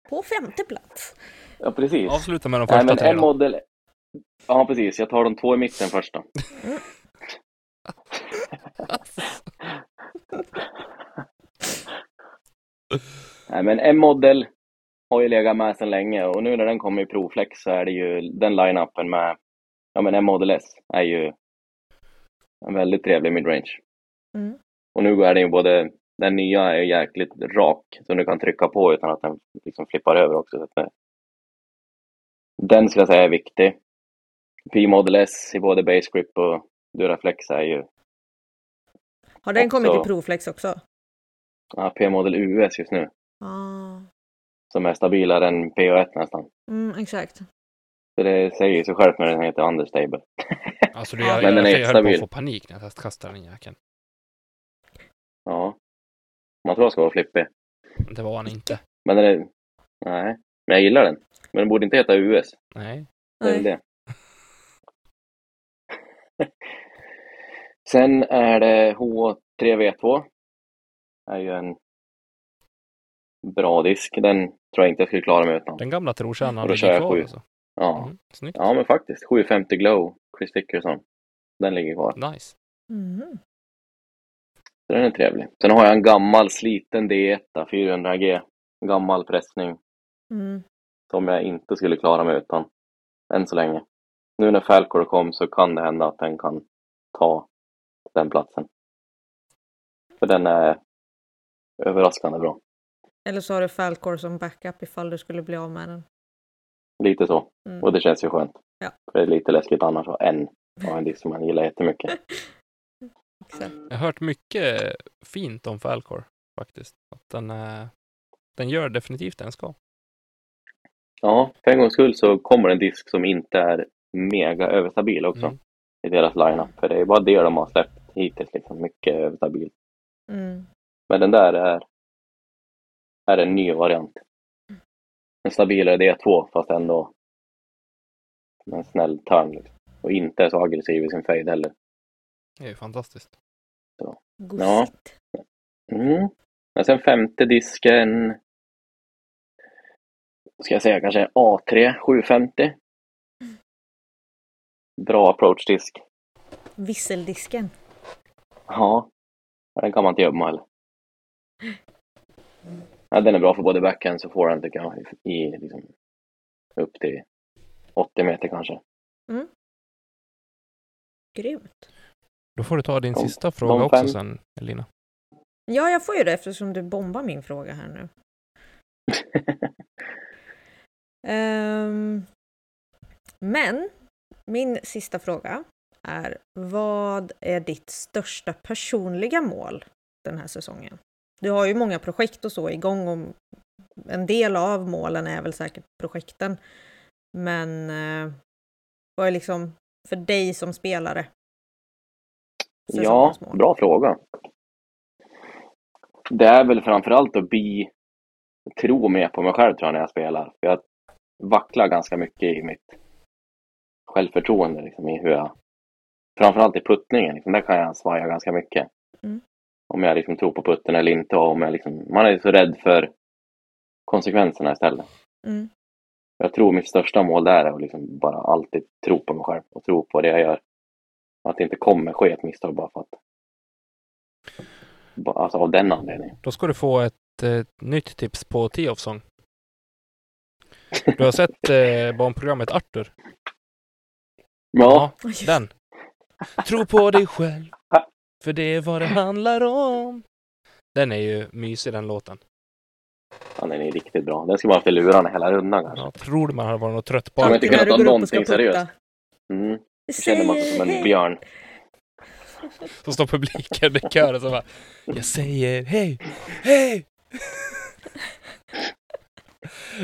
[SPEAKER 3] På femte plats.
[SPEAKER 2] Ja, precis.
[SPEAKER 1] Avsluta med de
[SPEAKER 2] Nej,
[SPEAKER 1] första
[SPEAKER 2] men
[SPEAKER 1] tre
[SPEAKER 2] en
[SPEAKER 1] då.
[SPEAKER 2] modell... Ja, precis. Jag tar de två i mitten först då. Nej, men en modell har ju legat med sedan länge och nu när den kommer i Proflex så är det ju den line-upen med, ja men en Model S är ju en väldigt trevlig midrange.
[SPEAKER 3] Mm.
[SPEAKER 2] Och nu är det ju både, den nya är ju jäkligt rak så du kan trycka på utan att den liksom flippar över också. Så att det, den skulle jag säga är viktig. P-Model S i både base grip och Duraflex är ju,
[SPEAKER 3] Har den
[SPEAKER 2] Också-
[SPEAKER 3] kommit i Proflex också?
[SPEAKER 2] ja, P-Model US just nu
[SPEAKER 3] Ja,
[SPEAKER 2] som är stabilare än PO1 nästan.
[SPEAKER 3] mm, exakt.
[SPEAKER 2] Så det säger ju sig självt när den heter Understable.
[SPEAKER 1] Alltså du, jag,
[SPEAKER 3] Men
[SPEAKER 1] jag,
[SPEAKER 2] den
[SPEAKER 1] jag,
[SPEAKER 2] är
[SPEAKER 1] höll på att
[SPEAKER 2] stabil.
[SPEAKER 1] få panik när jag testkastade den jäkeln.
[SPEAKER 2] Ja. Man tror jag ska vara flippig.
[SPEAKER 1] Men Det var han inte.
[SPEAKER 2] Men den är... Nej. Men jag gillar den. Men den borde inte heta US.
[SPEAKER 1] Nej.
[SPEAKER 2] Det är väl
[SPEAKER 3] Nej.
[SPEAKER 2] det. Sen är det H3V2. är ju en bra disk. Den tror jag inte jag skulle klara mig utan.
[SPEAKER 1] Den gamla trotjänaren
[SPEAKER 2] Och då kör
[SPEAKER 1] ligger
[SPEAKER 2] jag
[SPEAKER 1] kvar
[SPEAKER 2] sju.
[SPEAKER 1] alltså.
[SPEAKER 2] Ja,
[SPEAKER 1] Mm, snyggt.
[SPEAKER 2] ja men faktiskt. 750 Glow, Chris Dickerson. Den ligger kvar.
[SPEAKER 1] Nice.
[SPEAKER 3] Mhm.
[SPEAKER 2] Så den är trevlig. Sen har jag en gammal sliten D1, 400G. Gammal pressning.
[SPEAKER 3] Mm.
[SPEAKER 2] som jag inte skulle klara mig utan än så länge. Nu när Falcor kom så kan det hända att den kan ta den platsen. För den är överraskande bra.
[SPEAKER 3] Eller så har du Falcor som backup ifall du skulle bli av med den.
[SPEAKER 2] Lite så.
[SPEAKER 3] Mm.
[SPEAKER 2] Och det känns ju skönt.
[SPEAKER 3] Ja.
[SPEAKER 2] För det är lite läskigt annars att ha en av en disk som man gillar jättemycket.
[SPEAKER 3] Exakt.
[SPEAKER 1] Jag har hört mycket fint om Falcor faktiskt. Att den, eh, den gör definitivt det den ska.
[SPEAKER 2] Ja, för en gångs skull så kommer en disk som inte är mega överstabil också
[SPEAKER 1] Mm.
[SPEAKER 2] i deras lineup. För det är bara det de har släppt hittills, liksom mycket överstabil.
[SPEAKER 3] Mm.
[SPEAKER 2] Men den där är, är en ny variant. En stabilare D2 fast ändå med en snäll turn. Liksom. Och inte så aggressiv i sin fade heller.
[SPEAKER 1] Det är ju fantastiskt.
[SPEAKER 3] Gosigt.
[SPEAKER 2] Mm. Men sen femte disken. Ska jag säga kanske A3 750. Bra approach-disk.
[SPEAKER 3] Visseldisken.
[SPEAKER 2] Ja, Ja, den kan man inte gömma heller. Ja, den är bra för både backhands och forehand tycker jag. I, i, liksom, upp till 80 meter kanske.
[SPEAKER 3] Grymt.
[SPEAKER 1] Då får du ta din
[SPEAKER 2] De-
[SPEAKER 1] sista fråga
[SPEAKER 2] de
[SPEAKER 1] också
[SPEAKER 2] fem-
[SPEAKER 1] sen, Elina.
[SPEAKER 3] Ja, jag får ju det eftersom du bombar min fråga här nu. Ehm, men min sista fråga är vad är ditt största personliga mål den här säsongen? Du har ju många projekt och så igång och en del av målen är väl säkert projekten. Men eh, vad är liksom för dig som spelare?
[SPEAKER 2] ja,
[SPEAKER 3] säsongens mål?
[SPEAKER 2] bra fråga. Det är väl framförallt att bli, tro mer på mig själv tror jag när jag spelar. För jag vacklar ganska mycket i mitt självförtroende. Liksom, i hur jag, framförallt i puttningen, liksom, där kan jag svaja ganska mycket.
[SPEAKER 3] Mm.
[SPEAKER 2] Om jag liksom tror på putten eller inte. Och om jag liksom, man är så rädd för konsekvenserna istället.
[SPEAKER 3] Mm,
[SPEAKER 2] Jag tror mitt största mål där är att liksom bara alltid tro på mig själv och tro på det jag gör. Att det inte kommer ske ett misstag bara för att... Bara- Alltså av den anledningen.
[SPEAKER 1] Då ska du få ett eh, nytt tips på Tee of Song. Du har sett eh, barnprogrammet Arthur?
[SPEAKER 2] Ja,
[SPEAKER 1] Den. Tro på dig själv. För det är vad det handlar om. Den är ju mysig den låten.
[SPEAKER 2] ja. den är riktigt bra. Den ska man ha efter lurarna hela rundan kanske.
[SPEAKER 1] Jag tror man hade varit något trött
[SPEAKER 2] Ja,
[SPEAKER 1] barn.
[SPEAKER 2] men jag
[SPEAKER 3] Alltid
[SPEAKER 2] tycker
[SPEAKER 3] när
[SPEAKER 2] att de
[SPEAKER 3] du går upp och
[SPEAKER 2] någonting
[SPEAKER 3] ska putta.
[SPEAKER 2] seriöst. Mm. Jag känner mig
[SPEAKER 3] Säger
[SPEAKER 2] som en
[SPEAKER 3] hej.
[SPEAKER 2] björn.
[SPEAKER 1] Så står publiken i kör och så bara Jag säger hej, hej!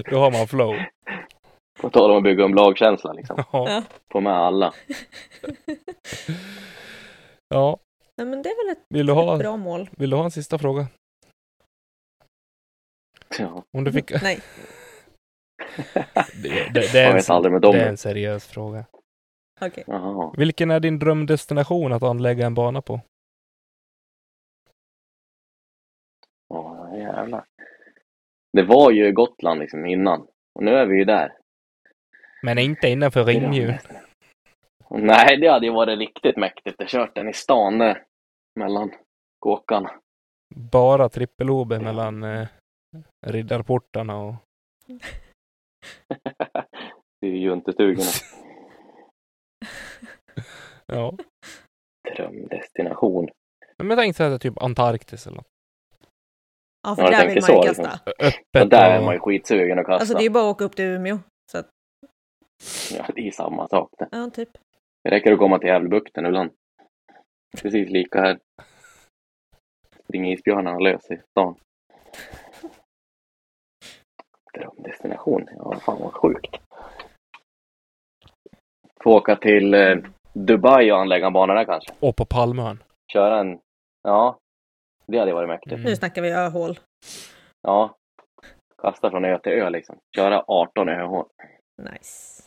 [SPEAKER 1] Då har man flow.
[SPEAKER 2] På tal om att bygga om lagkänsla liksom.
[SPEAKER 1] Ja.
[SPEAKER 2] Få med alla.
[SPEAKER 1] ja.
[SPEAKER 3] Nej, men det är väl ett
[SPEAKER 1] Vill, du ha,
[SPEAKER 3] bra mål.
[SPEAKER 1] vill du ha en sista fråga?
[SPEAKER 2] Ja.
[SPEAKER 1] Om du fick...
[SPEAKER 3] Nej.
[SPEAKER 1] Det, det, det, är,
[SPEAKER 2] Jag
[SPEAKER 1] en,
[SPEAKER 2] vet aldrig med
[SPEAKER 1] det är
[SPEAKER 2] dem.
[SPEAKER 1] en seriös fråga.
[SPEAKER 3] Okej.
[SPEAKER 2] Jaha.
[SPEAKER 1] Vilken är din drömdestination att anlägga en bana på?
[SPEAKER 2] Ja, jävlar. Det var ju Gotland liksom innan. Och nu är vi ju där.
[SPEAKER 1] Men inte innanför
[SPEAKER 2] Det är det
[SPEAKER 1] ringmur.
[SPEAKER 2] nästan. Nej, det hade ju varit riktigt mäktigt. Jag kört den i stan där, mellan kåkarna.
[SPEAKER 1] Bara trippelobe mellan eh, riddarportarna och...
[SPEAKER 2] Det är ju juntestugorna.
[SPEAKER 1] Ja.
[SPEAKER 2] Drömdestination.
[SPEAKER 1] Men jag tänkte att det är typ Antarktis eller något.
[SPEAKER 3] Ja, för
[SPEAKER 2] Ja, jag
[SPEAKER 3] där
[SPEAKER 2] tänker
[SPEAKER 3] vill man ju
[SPEAKER 2] så,
[SPEAKER 3] kasta.
[SPEAKER 2] liksom.
[SPEAKER 1] Öppet
[SPEAKER 2] Och där är
[SPEAKER 1] och-
[SPEAKER 2] man ju skitsugen att kasta.
[SPEAKER 3] Alltså det är ju bara att åka upp till Umeå. Så att,
[SPEAKER 2] ja, det är ju samma sak det.
[SPEAKER 3] ja, typ.
[SPEAKER 2] Det räcker att komma till Gävlebukten ibland. Precis lika här. Springa isbjörnarna lös i stan. Drömdestination. Ja, fan vad sjukt. Få åka till eh, Dubai och anlägga en bana där kanske.
[SPEAKER 1] Och på Palmön.
[SPEAKER 2] köra en... Ja, det hade varit mäktigt.
[SPEAKER 1] Mm.
[SPEAKER 3] Nu snackar vi öhål.
[SPEAKER 2] Ja. Kasta från ö till ö liksom. Köra 18 öhål.
[SPEAKER 3] Nice.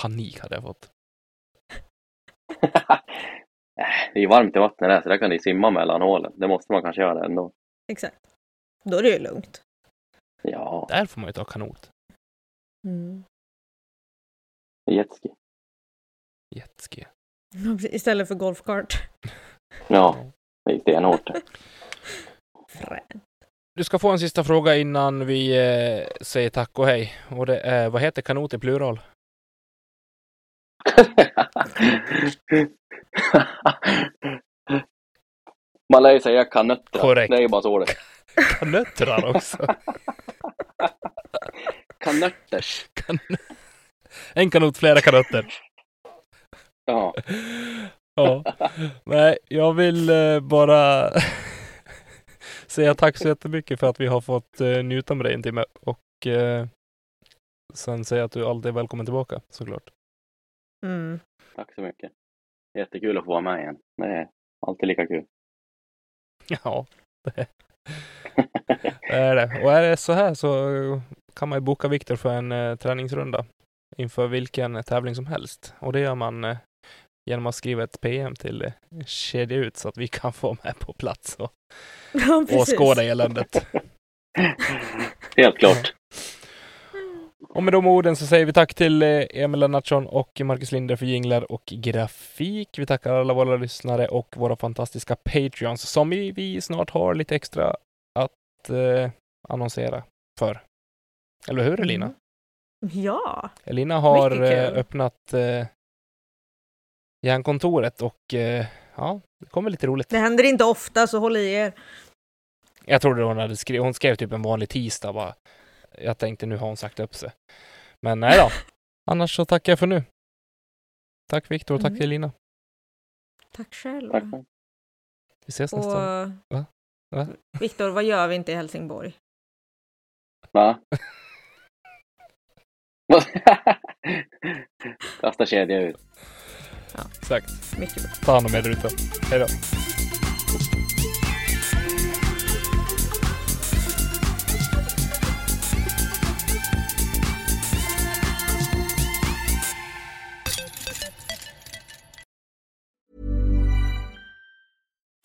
[SPEAKER 1] Panik hade jag fått.
[SPEAKER 2] Äh, det är ju varmt i vattnet där så där kan ni simma mellan hålen. Det måste man kanske göra ändå.
[SPEAKER 3] Exakt. Då är det ju lugnt.
[SPEAKER 2] Ja,
[SPEAKER 1] Där får man ju ta kanot.
[SPEAKER 2] Mm. jetski.
[SPEAKER 1] Jetski.
[SPEAKER 3] Istället för golfkart.
[SPEAKER 2] Ja, det är stenhårt.
[SPEAKER 3] Frän.
[SPEAKER 1] Du ska få en sista fråga innan vi eh, säger tack och hej. Och det är, vad heter kanot i plural?
[SPEAKER 2] Man lär ju säga kanöttra.
[SPEAKER 1] Korrekt.
[SPEAKER 2] Det är ju bara så det är.
[SPEAKER 1] Kanöttrar också.
[SPEAKER 2] Kanötters.
[SPEAKER 1] En kanot, flera kanötter.
[SPEAKER 2] Ja.
[SPEAKER 1] Ja. Nej, jag vill eh, bara säga tack så jättemycket för att vi har fått eh, njuta med dig en timme och eh, sen säga att du alltid är välkommen tillbaka såklart.
[SPEAKER 3] Mm.
[SPEAKER 2] Tack så mycket. Jättekul att få vara med igen. Det är alltid lika kul.
[SPEAKER 1] Ja, det det är det. Och är det så här så eh, kan man ju boka Viktor för en eh, träningsrunda inför vilken tävling som helst. Och det gör man eh, genom att skriva ett PM till eh, Kedja Ut så att vi kan få med på plats och
[SPEAKER 3] Ja, precis.
[SPEAKER 1] åskåda eländet.
[SPEAKER 2] Helt klart.
[SPEAKER 1] Och med de orden så säger vi tack till eh, Emil Lennartsson och Marcus Linder för jinglar och grafik. Vi tackar alla våra lyssnare och våra fantastiska Patreons som vi, vi snart har lite extra att eh, annonsera för. Eller hur Elina?
[SPEAKER 3] Mm. Ja,
[SPEAKER 1] Elina har
[SPEAKER 3] Mycket kul.
[SPEAKER 1] eh, öppnat eh, järnkontoret och eh, ja, det kommer lite roligt.
[SPEAKER 3] det händer inte ofta så håll i er.
[SPEAKER 1] Jag trodde hon hade skrivit, hon skrev typ en vanlig tisdag bara. Jag tänkte nu har hon sagt upp sig. Men nej då. Annars så tackar jag för nu. Tack Viktor och tack
[SPEAKER 3] Mm.
[SPEAKER 1] Elina.
[SPEAKER 3] Tack själv.
[SPEAKER 2] Tack.
[SPEAKER 1] Vi ses nästa gång.
[SPEAKER 3] Och
[SPEAKER 1] Va? Va?
[SPEAKER 3] Viktor, vad gör vi inte i Helsingborg?
[SPEAKER 2] Va? Kasta kedja ut.
[SPEAKER 1] Exakt.
[SPEAKER 3] Mycket bra.
[SPEAKER 1] Ta hand om er där ute. Hej då.